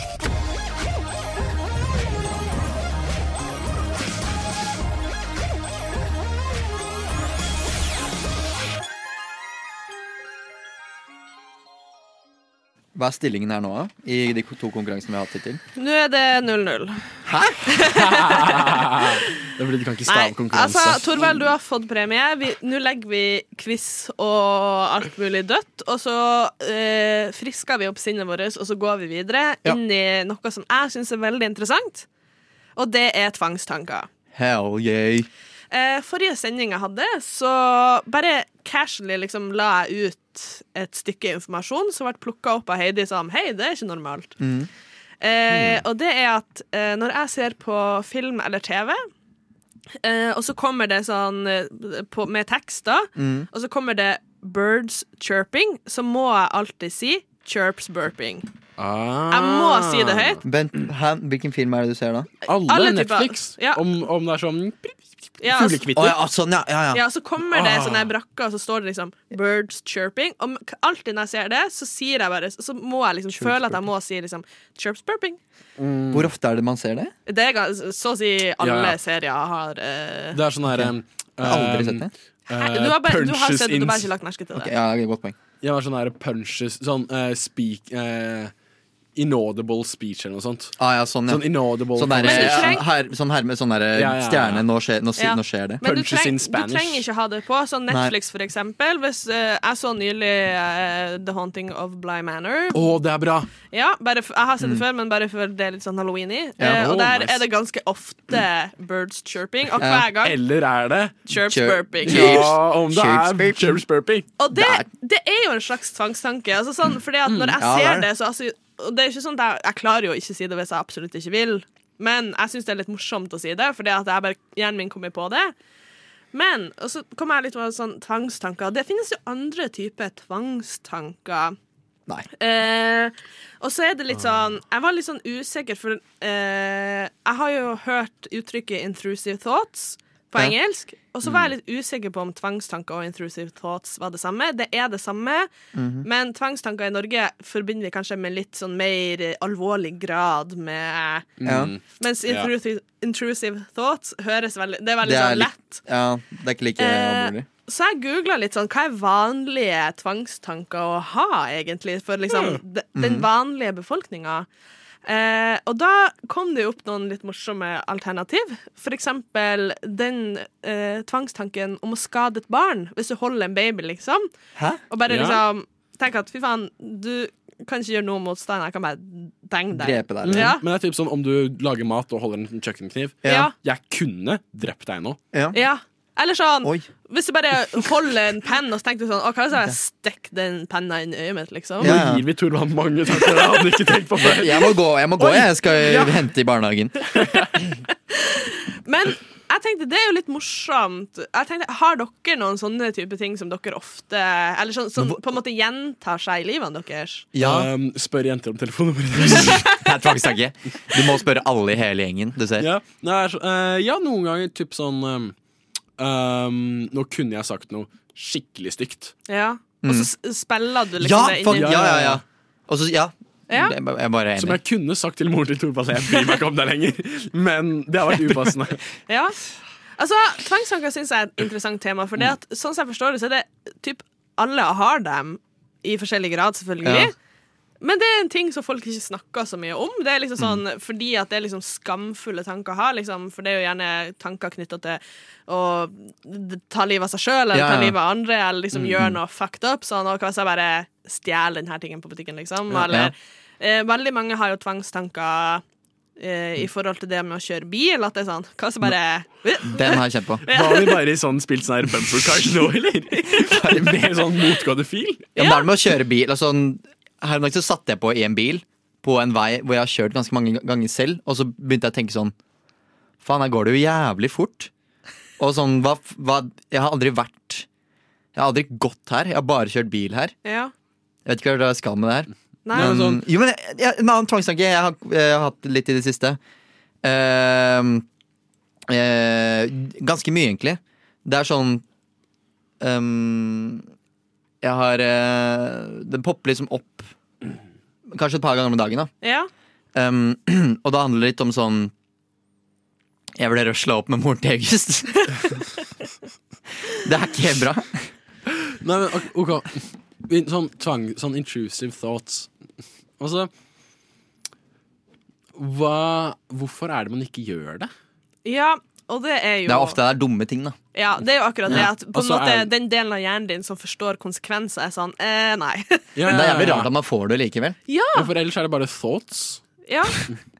Hva er stillingen her nå, da? I de to konkurransene vi har hatt hittil?
Nå er det 0-0.
det blir kanskje stavkonkurranse.
altså, Torvald, du har fått premie. Vi- Nå legger vi quiz og alt mulig dødt. Og så eh, frisker vi opp sinnet vårt, og så går vi videre
Ja.
inn i noe som jeg syns er veldig interessant. Og det er tvangstanker.
Hell yeah.
Eh, forrige sending jeg hadde, så bare casually liksom la jeg ut et stykke informasjon som ble plukka opp av Heidi som Hei, det er ikke normalt. Eh, og det er at eh, når jeg ser på film eller TV, eh, og så kommer det sånn eh, på, med tekster,
Mm.
og så kommer det 'birds chirping', så må jeg alltid si 'chirps burping'. Jeg må
Ah.
si det høyt.
Vent, hæ? Hvilken film er det du ser da?
Alle,
Alle typer.
Netflix.
Ja.
Om, om det er sånn
Ja, altså-
fuglekvitter.
Å, ja, sånn, ja, ja, ja.
Ja, så kommer det
Ah.
sånne brakker, og så står det liksom 'birds chirping'. Og k- alltid når jeg ser det, så sier jeg bare Så må jeg liksom føle at jeg må si liksom 'chirps burping'.
Hvor ofte er det man ser det?
Det er gans- så å si alle
Ja, ja.
serier har eh,
Det er sånn her eh, um,
Jeg har aldri sett det.
Hæ? Du har bare- du har sett det, du har bare ikke lagt merke til det. Ok, ja,
godt poeng.
Ja, det er sånn her punches Sånn eh, speak eh, Inaudible speech eller noe sånt.
Ah, ja, sånn, ja.
Sånn inaudible
Sånn der,
Men du
eh,
treng-
her, sånn her med sånn der eh,
Ja, ja, ja.
stjerne Nå skjer, nå, si-
Ja.
nå skjer det.
Men du, treng, du trenger ikke ha det på. Sånn
Nei.
Netflix, for eksempel. Hvis, eh, jeg så nylig eh, The Haunting of Bligh Manor.
Å, det er bra!
Ja, bare f jeg har sett det
Oh. Mm.
før, men bare for det er litt sånn halloween i.
Ja.
Eh, og
Oh,
der
nice.
er det ganske ofte birds chirping, og hver gang.
Eller er det
Chirps burping.
Ja, om det er
Chirps-
chirps burping.
Og det, det er jo en slags tvangstanke. Altså sånn, fordi at når jeg
Mm. Ja, det
ser
er
det,
det.
så altså, og det er ikke sånn at jeg, jeg klarer jo å ikke si det hvis jeg absolutt ikke vil. Men jeg syns det er litt morsomt å si det, fordi at jeg bare, hjernen min kommer på det. Men og så kommer jeg litt over sånn tvangstanker. Det finnes jo andre typer tvangstanker.
Nei.
Eh, og så er det litt sånn Jeg var litt sånn usikker, for eh, jeg har jo hørt uttrykket 'intrusive thoughts' på
Ja.
engelsk. Og så var jeg litt usikker på om tvangstanker og intrusive thoughts var det samme. Det er det samme,
Mhm.
men tvangstanker i Norge forbinder vi kanskje med litt sånn mer eh, alvorlig grad med
Mm.
Ja.
Mens
Mm. Ja.
intrusive, intrusive thoughts høres veldig Det er veldig
Det er
sånn lett.
litt- Ja, det er ikke like
Eh,
alvorlig.
Så jeg googla litt sånn hva er vanlige tvangstanker å ha, egentlig, for liksom
Mm.
de, den
Mhm.
vanlige befolkninga. Eh, og da kom det jo opp noen litt morsomme alternativ. For eksempel den eh, tvangstanken om å skade et barn hvis du holder en baby, liksom.
Hæ?
Og bare
Ja.
liksom tenk at fy faen, du kan ikke gjøre noe motstand, jeg kan bare denge deg.
Mm.
Ja.
Men det er typ sånn om du lager mat og holder en kjøkkenkniv.
Ja.
Jeg kunne drept deg nå.
Ja. Eller sånn Hvis du bare holder en penn og så tenker du sånn Å, hva hvis jeg stikker den penna inn i øyet mitt, liksom?
Nå gir vi Torvald mange tanker jeg hadde ikke tenkt på før.
Jeg må gå, jeg, må gå,
Oi.
jeg skal
Ja.
hente i barnehagen.
Men jeg tenkte det er jo litt morsomt. Jeg tenkte, Har dere noen sånne type ting som dere ofte Eller sånn, som på en måte gjentar seg i livene deres?
Eh,
Um, spør jenter om telefonnummeret.
Det er tvangstanke. Du må spørre alle i hele gjengen. Du ser.
Ja, det er, så- eh, ja noen ganger typ sånn um, um, Nå kunne jeg sagt noe skikkelig stygt.
Ja. Og så s- spiller du liksom
Mm. Ja,
det
fuck,
inn i
ja, ja, ja.
Og så, ja.
Ja.
Det er ba- Jeg er bare enig.
Som jeg kunne sagt til moren til Torvald. Jeg bryr meg ikke om deg lenger. Men det har vært upassende.
Ja. Altså, Tvangstanker syns jeg er et interessant tema. For det at, sånn som jeg forstår det, så er det typ alle har dem, i forskjellig grad, selvfølgelig.
Ja.
Men det er en ting som folk ikke snakker så mye om. Det er liksom sånn,
Mm.
Fordi at det er liksom skamfulle tanker å ha. Liksom, for det er jo gjerne tanker knytta til å d- ta livet av seg sjøl eller
Ja, ja.
ta livet av andre, eller liksom
Mm,
gjøre
mm.
noe fucked up. Sånn, og hva hvis jeg bare stjeler denne tingen på butikken, liksom?
Ja,
eller Eh, Veldig mange har jo tvangstanker eh,
Mm.
i forhold til det med å kjøre bil. At det er sånn Hva hvis jeg bare øh,
Den har jeg kjent på.
Hva om vi bare i sånn spilt sånn her bumper cars nå, eller? Med sånn motgående fil?
Ja, men det er det med å kjøre bil. Altså, her om dagen så satte jeg på i en bil på en vei hvor jeg har kjørt ganske mange ganger selv, og så begynte jeg å tenke sånn Faen, her går det jo jævlig fort. Og sånn, hva, hva Jeg har aldri vært Jeg har aldri gått her, jeg har bare kjørt bil her.
Ja.
Jeg vet ikke hva jeg skal med det her.
Nei. sånn,
men,
Nei,
sånn-
men
Um, jo, men jeg, jeg, En annen tvangstanke jeg har, jeg har hatt litt i det siste. Ehm, eh, ganske mye, egentlig. Det er sånn ehm, Jeg har eh, Det popper liksom opp kanskje et par ganger om dagen. da
Ja.
Ehm, Og det handler litt om sånn Jeg ble rusla opp med moren til August. det er ikke bra.
Nei, men ok, ok. Vi- Sånn tvang, sånn intrusive thoughts. Altså hva, Hvorfor er det man ikke gjør det?
Ja, og det er jo
Det er ofte det er dumme ting, da.
Ja, det er jo akkurat det.
Ja.
At på en
Altså,
måte
er-
den delen av hjernen din som forstår konsekvenser, er sånn eh, Nei.
Men det er jævlig rart at man får det likevel.
Ja.
Ja, For ellers er det bare thoughts.
ja.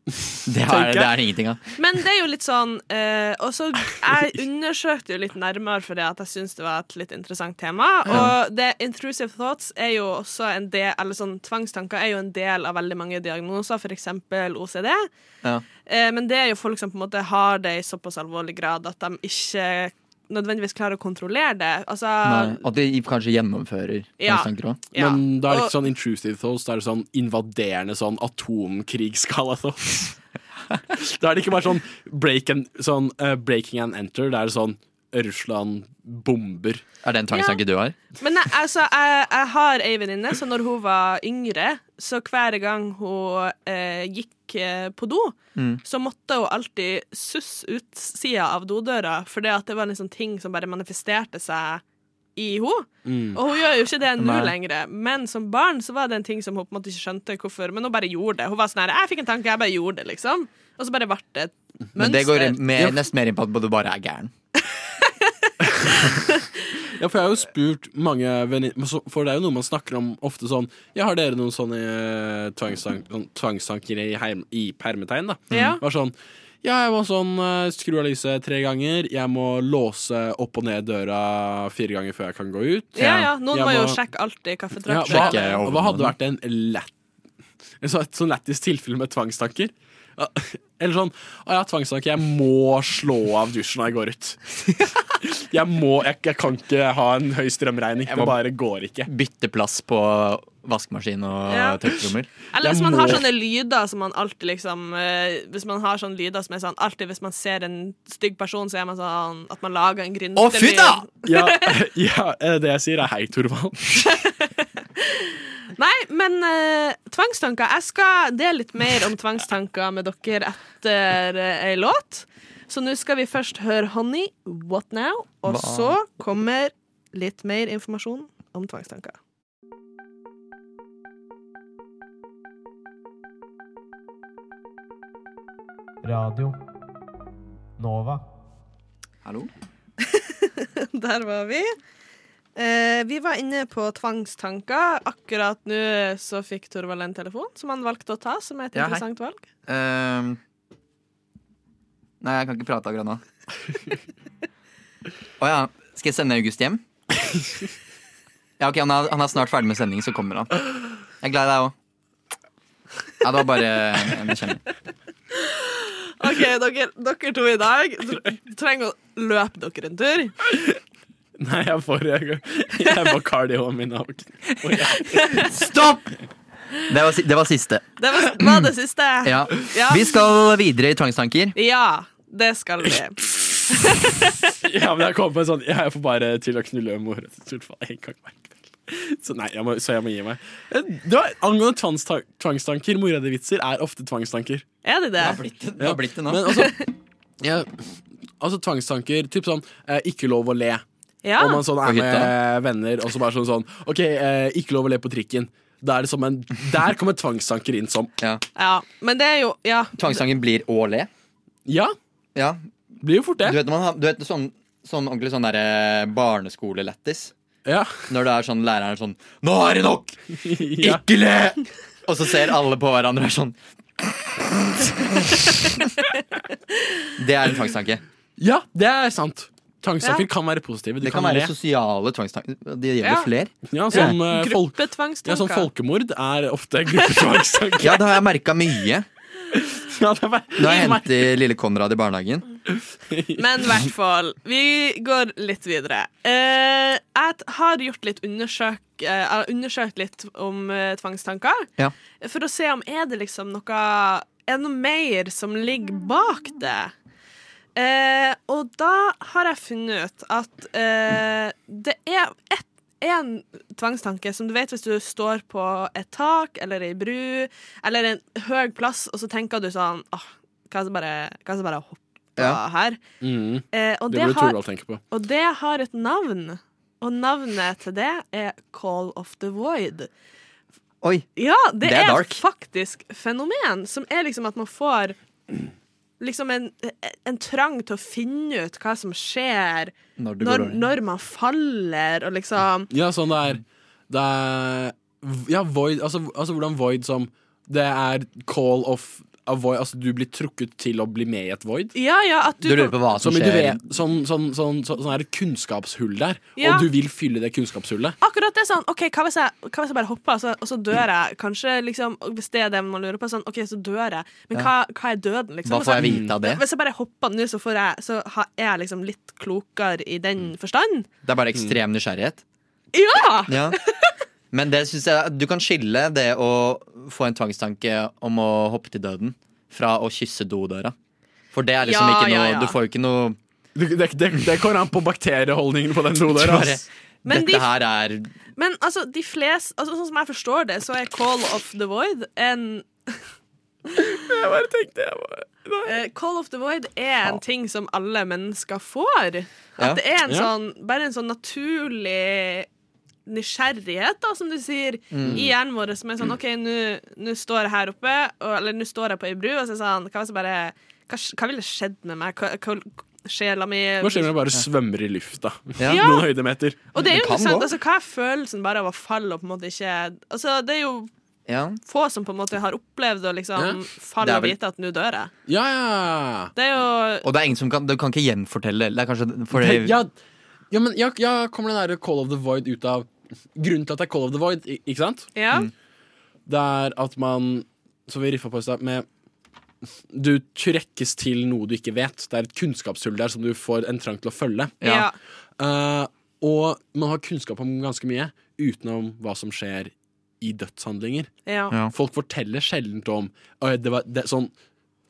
Det er
Tenker jeg.
det er ingenting av.
Men det er jo litt sånn eh, Og så jeg undersøkte jo litt nærmere fordi at jeg syns det var et litt interessant tema.
Ja.
Og det intrusive thoughts er jo også en del Eller sånn tvangstanker er jo en del av veldig mange diagnoser, f.eks. OCD. Eh, men det er jo folk som på en måte har det i såpass alvorlig grad at de ikke nødvendigvis klarer å kontrollere det. Altså,
Nei, at de kanskje gjennomfører
Ja.
mistanker òg.
Ja.
Men da er det
Og-
ikke sånn intrusive thoughts, da er det sånn invaderende sånn atomkrigsskala thoughts. da er det ikke bare sånn, break and, sånn eh, breaking and enter, det er sånn Russland bomber.
Er det en
tvangstanke
du har?
Men jeg, altså, jeg, jeg har ei venninne som når hun var yngre, så hver gang hun eh, gikk eh, på do,
Mm.
så måtte hun alltid susse ut sida av dodøra, for det, at det var en sånn ting som bare manifesterte seg i henne.
Mm.
Og hun gjør jo ikke det nå
Nei.
lenger, men som barn så var det en ting som hun på en måte ikke skjønte hvorfor, men hun bare gjorde det. Hun var sånn her, jeg fikk en tanke, jeg bare gjorde det, liksom. Og så bare ble det et
Men det går
mønster.
mer, nesten mer inn på at du bare er gæren.
Ja, for jeg har jo spurt mange venninner For det er jo noe man snakker om ofte sånn Ja, har dere noen sånne eh, tvangstank, sånn tvangstanker i, heim, i permetegn, da?
Ja.
Var sånn Ja, jeg må sånn eh, skru av lyset tre ganger. Jeg må låse opp og ned døra fire ganger før jeg kan gå ut.
Ja, ja. Noen
Jeg
må jo
må-
sjekke alltid
ja,
kaffetrakteren.
hva, hva hadde vært en lett en sånn- Et sånn lættis tilfelle med tvangstanker? Ja, Eller sånn Å, jeg har tvangstanker. Jeg må slå av dusjen når jeg går ut. Jeg må Jeg, jeg kan ikke ha en høy strømregning.
Jeg
Det
må-
bare går ikke.
Bytte plass på vaskemaskin og
Ja.
tørkerommer.
Eller hvis man har sånne lyder som man alltid liksom eh, Hvis man har sånne lyder som er sånn Alltid hvis man ser en stygg person, så er man sånn at man lager en gryntelyd.
Å, fy da!
Ja, ja, eh, det jeg sier er hei, Torvald.
Nei, men eh, tvangstanker Jeg skal dele litt mer om tvangstanker med dere etter eh, ei låt. Så nå skal vi først høre Honey, What Now? Og
Hva?
så kommer litt mer informasjon om tvangstanker.
Radio Nova.
Hallo?
Der var vi. Eh, vi var inne på tvangstanker. Akkurat nå så fikk Torvald en telefon som han valgte å ta, som er et
Ja, hei.
interessant valg.
Ehm, nei, jeg kan ikke prate akkurat nå. Å ja. Skal jeg sende August hjem? Ja, ok, han er, han er snart ferdig med sending, så kommer han. Jeg er glad i deg òg. Ja, det var bare en kjenning.
OK, dere, dere to i dag tr- trenger å løpe dere en tur.
Nei, jeg får Jeg, jeg må cardioen min av.
Stopp! Det var, si- det var siste.
Det var, var det siste.
Ja.
Ja.
Vi skal videre i tvangstanker.
Ja, det skal vi.
Ja, men jeg kom på en sånn Jeg får bare til å knulle mora til Torvald en gang hver kveld. Så nei, jeg må, så jeg må gi meg. Det var, angående tvangsta- tvangstanker, mora di vitser er ofte tvangstanker.
Er det det?
Det har blitt det nå.
Men altså, ja, altså tvangstanker, typ sånn eh, ikke lov å le.
Ja.
Om man sånn
På
er
hytta.
med venner og så bare sånn sånn OK, eh, ikke lov å le på trikken. Da er det som en, der kommer tvangstanker inn som.
Ja.
Ja, men det er jo Ja.
Tvangstanken blir å le.
Ja. Blir jo fort det.
Du vet, når man har, du vet sånn, sånn ordentlig sånn derre barneskolelættis.
Ja.
Når det er sånn læreren er sånn Nå er det nok! Ikke le! Og så ser alle på hverandre og er sånn Det er en tvangstanke.
Ja, det er sant. Tvangstanker
Ja.
kan være positive. De
Det kan
le.
være sosiale tvangstanker. Det gjelder
Ja.
flere.
Ja, som, eh, folk, ja, som
Gruppetvangstanker.
folkemord er ofte gruppetvangssaker.
Ja, det har jeg merka mye.
Ja, det var-
Da jeg henter lille Konrad i barnehagen.
Men i hvert fall, vi går litt videre. Eh, jeg t- har gjort litt undersøk, eh, jeg har undersøkt litt om eh, tvangstanker.
Ja.
For å se om er det liksom noe Er det noe mer som ligger bak det. Eh, og da har jeg funnet ut at eh, det er ett en tvangstanke som du vet hvis du står på et tak eller ei bru eller en høy plass, og så tenker du sånn Åh, kan jeg bare, kan jeg bare hoppe
Ja.
her?
Mm.
Eh, og,
det
det
burde
har,
Torvald tenke på.
og det har et navn. Og navnet til det er Call of the Void.
Oi.
Ja, det,
Det er
er,
dark.
et faktisk fenomen, som er liksom at man får liksom en, en trang til å finne ut hva som skjer
Når det går
når,
over.
når man faller, og liksom
Ja, sånn det er. Det er ja, void, altså, altså hvordan void som Det er call of av void, altså du blir trukket til å bli med i et void?
Ja, ja, at du,
Som i du vet- sånn, sånn, sånn, sånn, sånn er det kunnskapshull der,
Ja.
og du vil fylle det kunnskapshullet.
Akkurat det, sånn, ok, hva hvis jeg, hva hvis jeg bare hopper, og så, og så dør jeg? Kanskje, liksom, og Hvis det er det man lurer på, sånn, ok, så dør jeg. Men
Ja.
hva, hva er døden, liksom?
Hva
Og
får
så-
jeg vite av det?
Hvis jeg bare hopper nå, så, får jeg, så har- er jeg liksom litt klokere i den forstand.
Det er
Mm.
bare ekstrem nysgjerrighet.
Ja!
Ja. Men det synes jeg du kan skille det å få en tvangstanke om å hoppe til døden fra å kysse dodøra. For det er liksom
Ja,
ikke noe
ja, ja.
Du får jo ikke noe
Det, det, det, det kommer an på bakterieholdningen på den dodøra.
Bare,
ass.
Men de-
Dette her er
Men altså, de fleste altså, Sånn som jeg forstår det, så er Call of the Void en Jeg bare tenkte Eh, Call of the Void er en ting som alle mennesker får.
Ja.
At det er en
Ja.
sånn, bare en sånn naturlig nysgjerrighet, da, som du sier,
Mm.
i hjernen vår, som er sånn OK, nå nå står jeg her oppe, og, eller nå står jeg på ei bru, og så er det sånn Hva hvis jeg bare Hva, hva ville skjedd med meg? Hva, hva, sjela mi
Hva skjer om jeg bare svømmer i lufta
Ja.
noen høydemeter?
Og det er jo interessant, altså, hva er følelsen bare av å falle og på en måte ikke Altså, det er jo
Ja.
få som på en måte har opplevd å liksom
Ja. Det
falle
er
og
vel-
vite at nå dør jeg.
Ja,
Det er jo
Og det er ingen som kan Du kan ikke gjenfortelle. Det er kanskje fordi
Det- ja, ja, men ja, ja, kommer den der Call of the Void ut av Grunnen til at det er Call of the Void, i- ikke sant?
Ja.
Det er at man, som vi riffa på i stad, med Du trekkes til noe du ikke vet. Det er et kunnskapshull der som du får en trang til å følge.
Ja.
Eh, og man har kunnskap om ganske mye utenom hva som skjer i dødshandlinger.
Ja. Ja.
Folk forteller sjelden om «Oi, det var, det, sånn,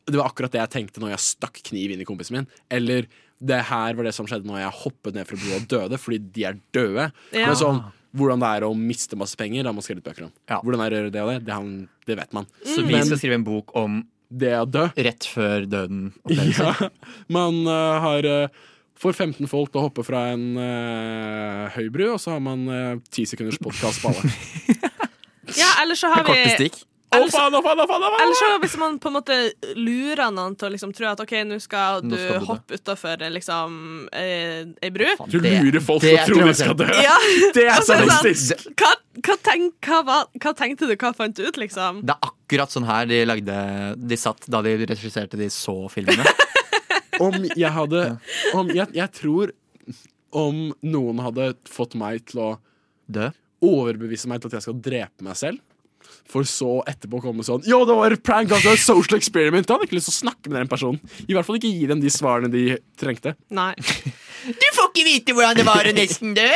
det var akkurat det jeg tenkte når jeg stakk kniv inn i kompisen min. Eller det her var det som skjedde når jeg hoppet ned fra broa og døde, fordi de er døde.
Ja.
Men sånn, hvordan det er å miste masse penger, det har man skrevet bøker om. Hvordan er det å gjøre det og det, det, har man- det vet man.
Så vi skal skrive en bok om
det å dø.
Rett før døden.
Ja, man eh, har eh, Får 15 folk til å hoppe fra en eh, høy bru, og så har man eh, 10 sekunders podkast på alle.
ja, eller så har vi
Korte stikk.
Eller så-
Å, faen, å, faen, å, faen, å, faen!
Eller så hvis man på en måte lurer noen til å liksom tro at OK, nå skal du
Nå skal du dø.
hoppe utafor liksom eh, ei bru.
Du lurer folk
det
til å
er
tro de
traumatisk.
skal dø!
Ja.
Det er
Og så det sånn,
sadistisk!
Hva, hva, tenk, hva, var- hva tenkte du? Hva fant du ut, liksom?
Det er akkurat sånn her de lagde De satt da de regisserte de så filmene.
Om jeg hadde om, jeg, jeg tror om noen hadde fått meg til å overbevise meg til at jeg skal drepe meg selv, for så etterpå å komme sånn Yo, det var et prank! Altså, det var et social experiment! Jeg hadde ikke lyst til å snakke med den personen. I hvert fall ikke gi dem de svarene de trengte.
Nei.
Du får ikke vite hvordan det var å nesten dø!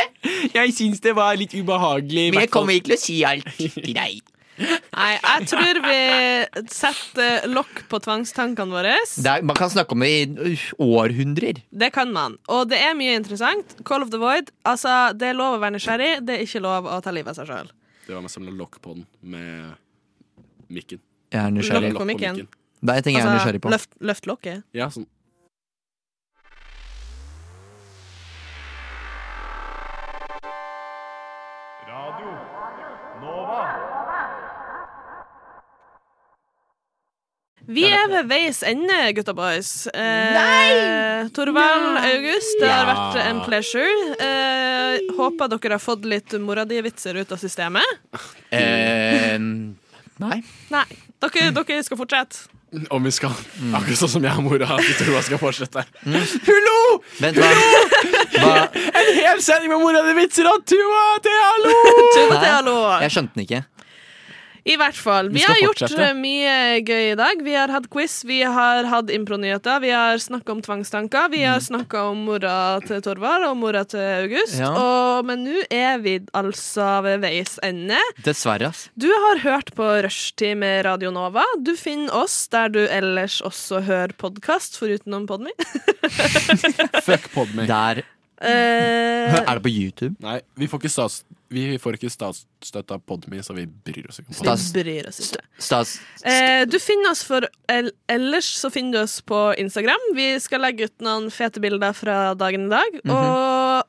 Jeg syns det var litt ubehagelig.
Men jeg kommer ikke til å si alt til deg.
Nei, jeg tror vi setter lokk på tvangstankene våre.
Det er, man kan snakke om det i uh, århundrer.
Det kan man. Og det er mye interessant. Call of the Void. Altså, det er lov å være nysgjerrig, det er ikke lov å ta livet av seg sjøl.
Det var meg som la lokk på den med mikken.
Jeg er nysgjerrig.
Lokk på mikken.
Det er en ting jeg er
Altså,
nysgjerrig på.
Løft, løft lokket.
Ja, sånn.
Radio Nova.
Vi er ved veis ende, gutta boys. Eh, Nei! Torvald, August, det har
Ja.
vært en pleasure. Eh, håper dere har fått litt mora di-vitser ut av systemet.
Eh, nei.
Nei. Dere, dere skal fortsette.
Om vi skal. Akkurat sånn som jeg og mora vi tror jeg skal fortsette.
Vent, hva?
En hel sending med mora di vitser og Tuva til hallo!
Tuva til
Hæ?
hallo.
Jeg skjønte den ikke.
I hvert fall. Vi,
Vi skal
har gjort
fortsette.
eh, mye gøy i dag. Vi har hatt quiz, vi har hatt impronyheter, vi har snakka om tvangstanker, vi
Mm.
har snakka om mora til Torvald og mora til August.
Ja.
Og, men nå er vi altså ved veis ende.
Dessverre, ass.
Du har hørt på Rushtid med Radio Nova. Du finner oss der du ellers også hører podkast, foruten om Podmy.
Fuck Podme.
Der.
Eh,
Er det på YouTube?
Nei, vi får ikke, stats, vi får ikke statsstøtte av Podme, så vi bryr oss ikke om
vi
Podme.
bryr oss ikke.
Stas.
Eh, du finner oss for el Ellers så finner du oss på Instagram. Vi skal legge ut noen fete bilder fra dagen i dag.
Mhm.
Og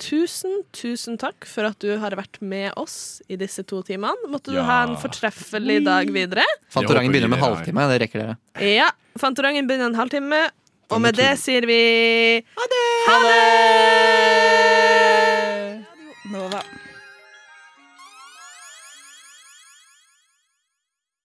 tusen, tusen takk for at du har vært med oss i disse to timene. Måtte du
Ja.
ha en fortreffelig dag videre.
Fantorangen
Jeg håper
begynner med
dere
halvtime. Det rekker dere.
Ja, Fantorangen begynner en halvtime, og med det sier vi Ha det!
Nova.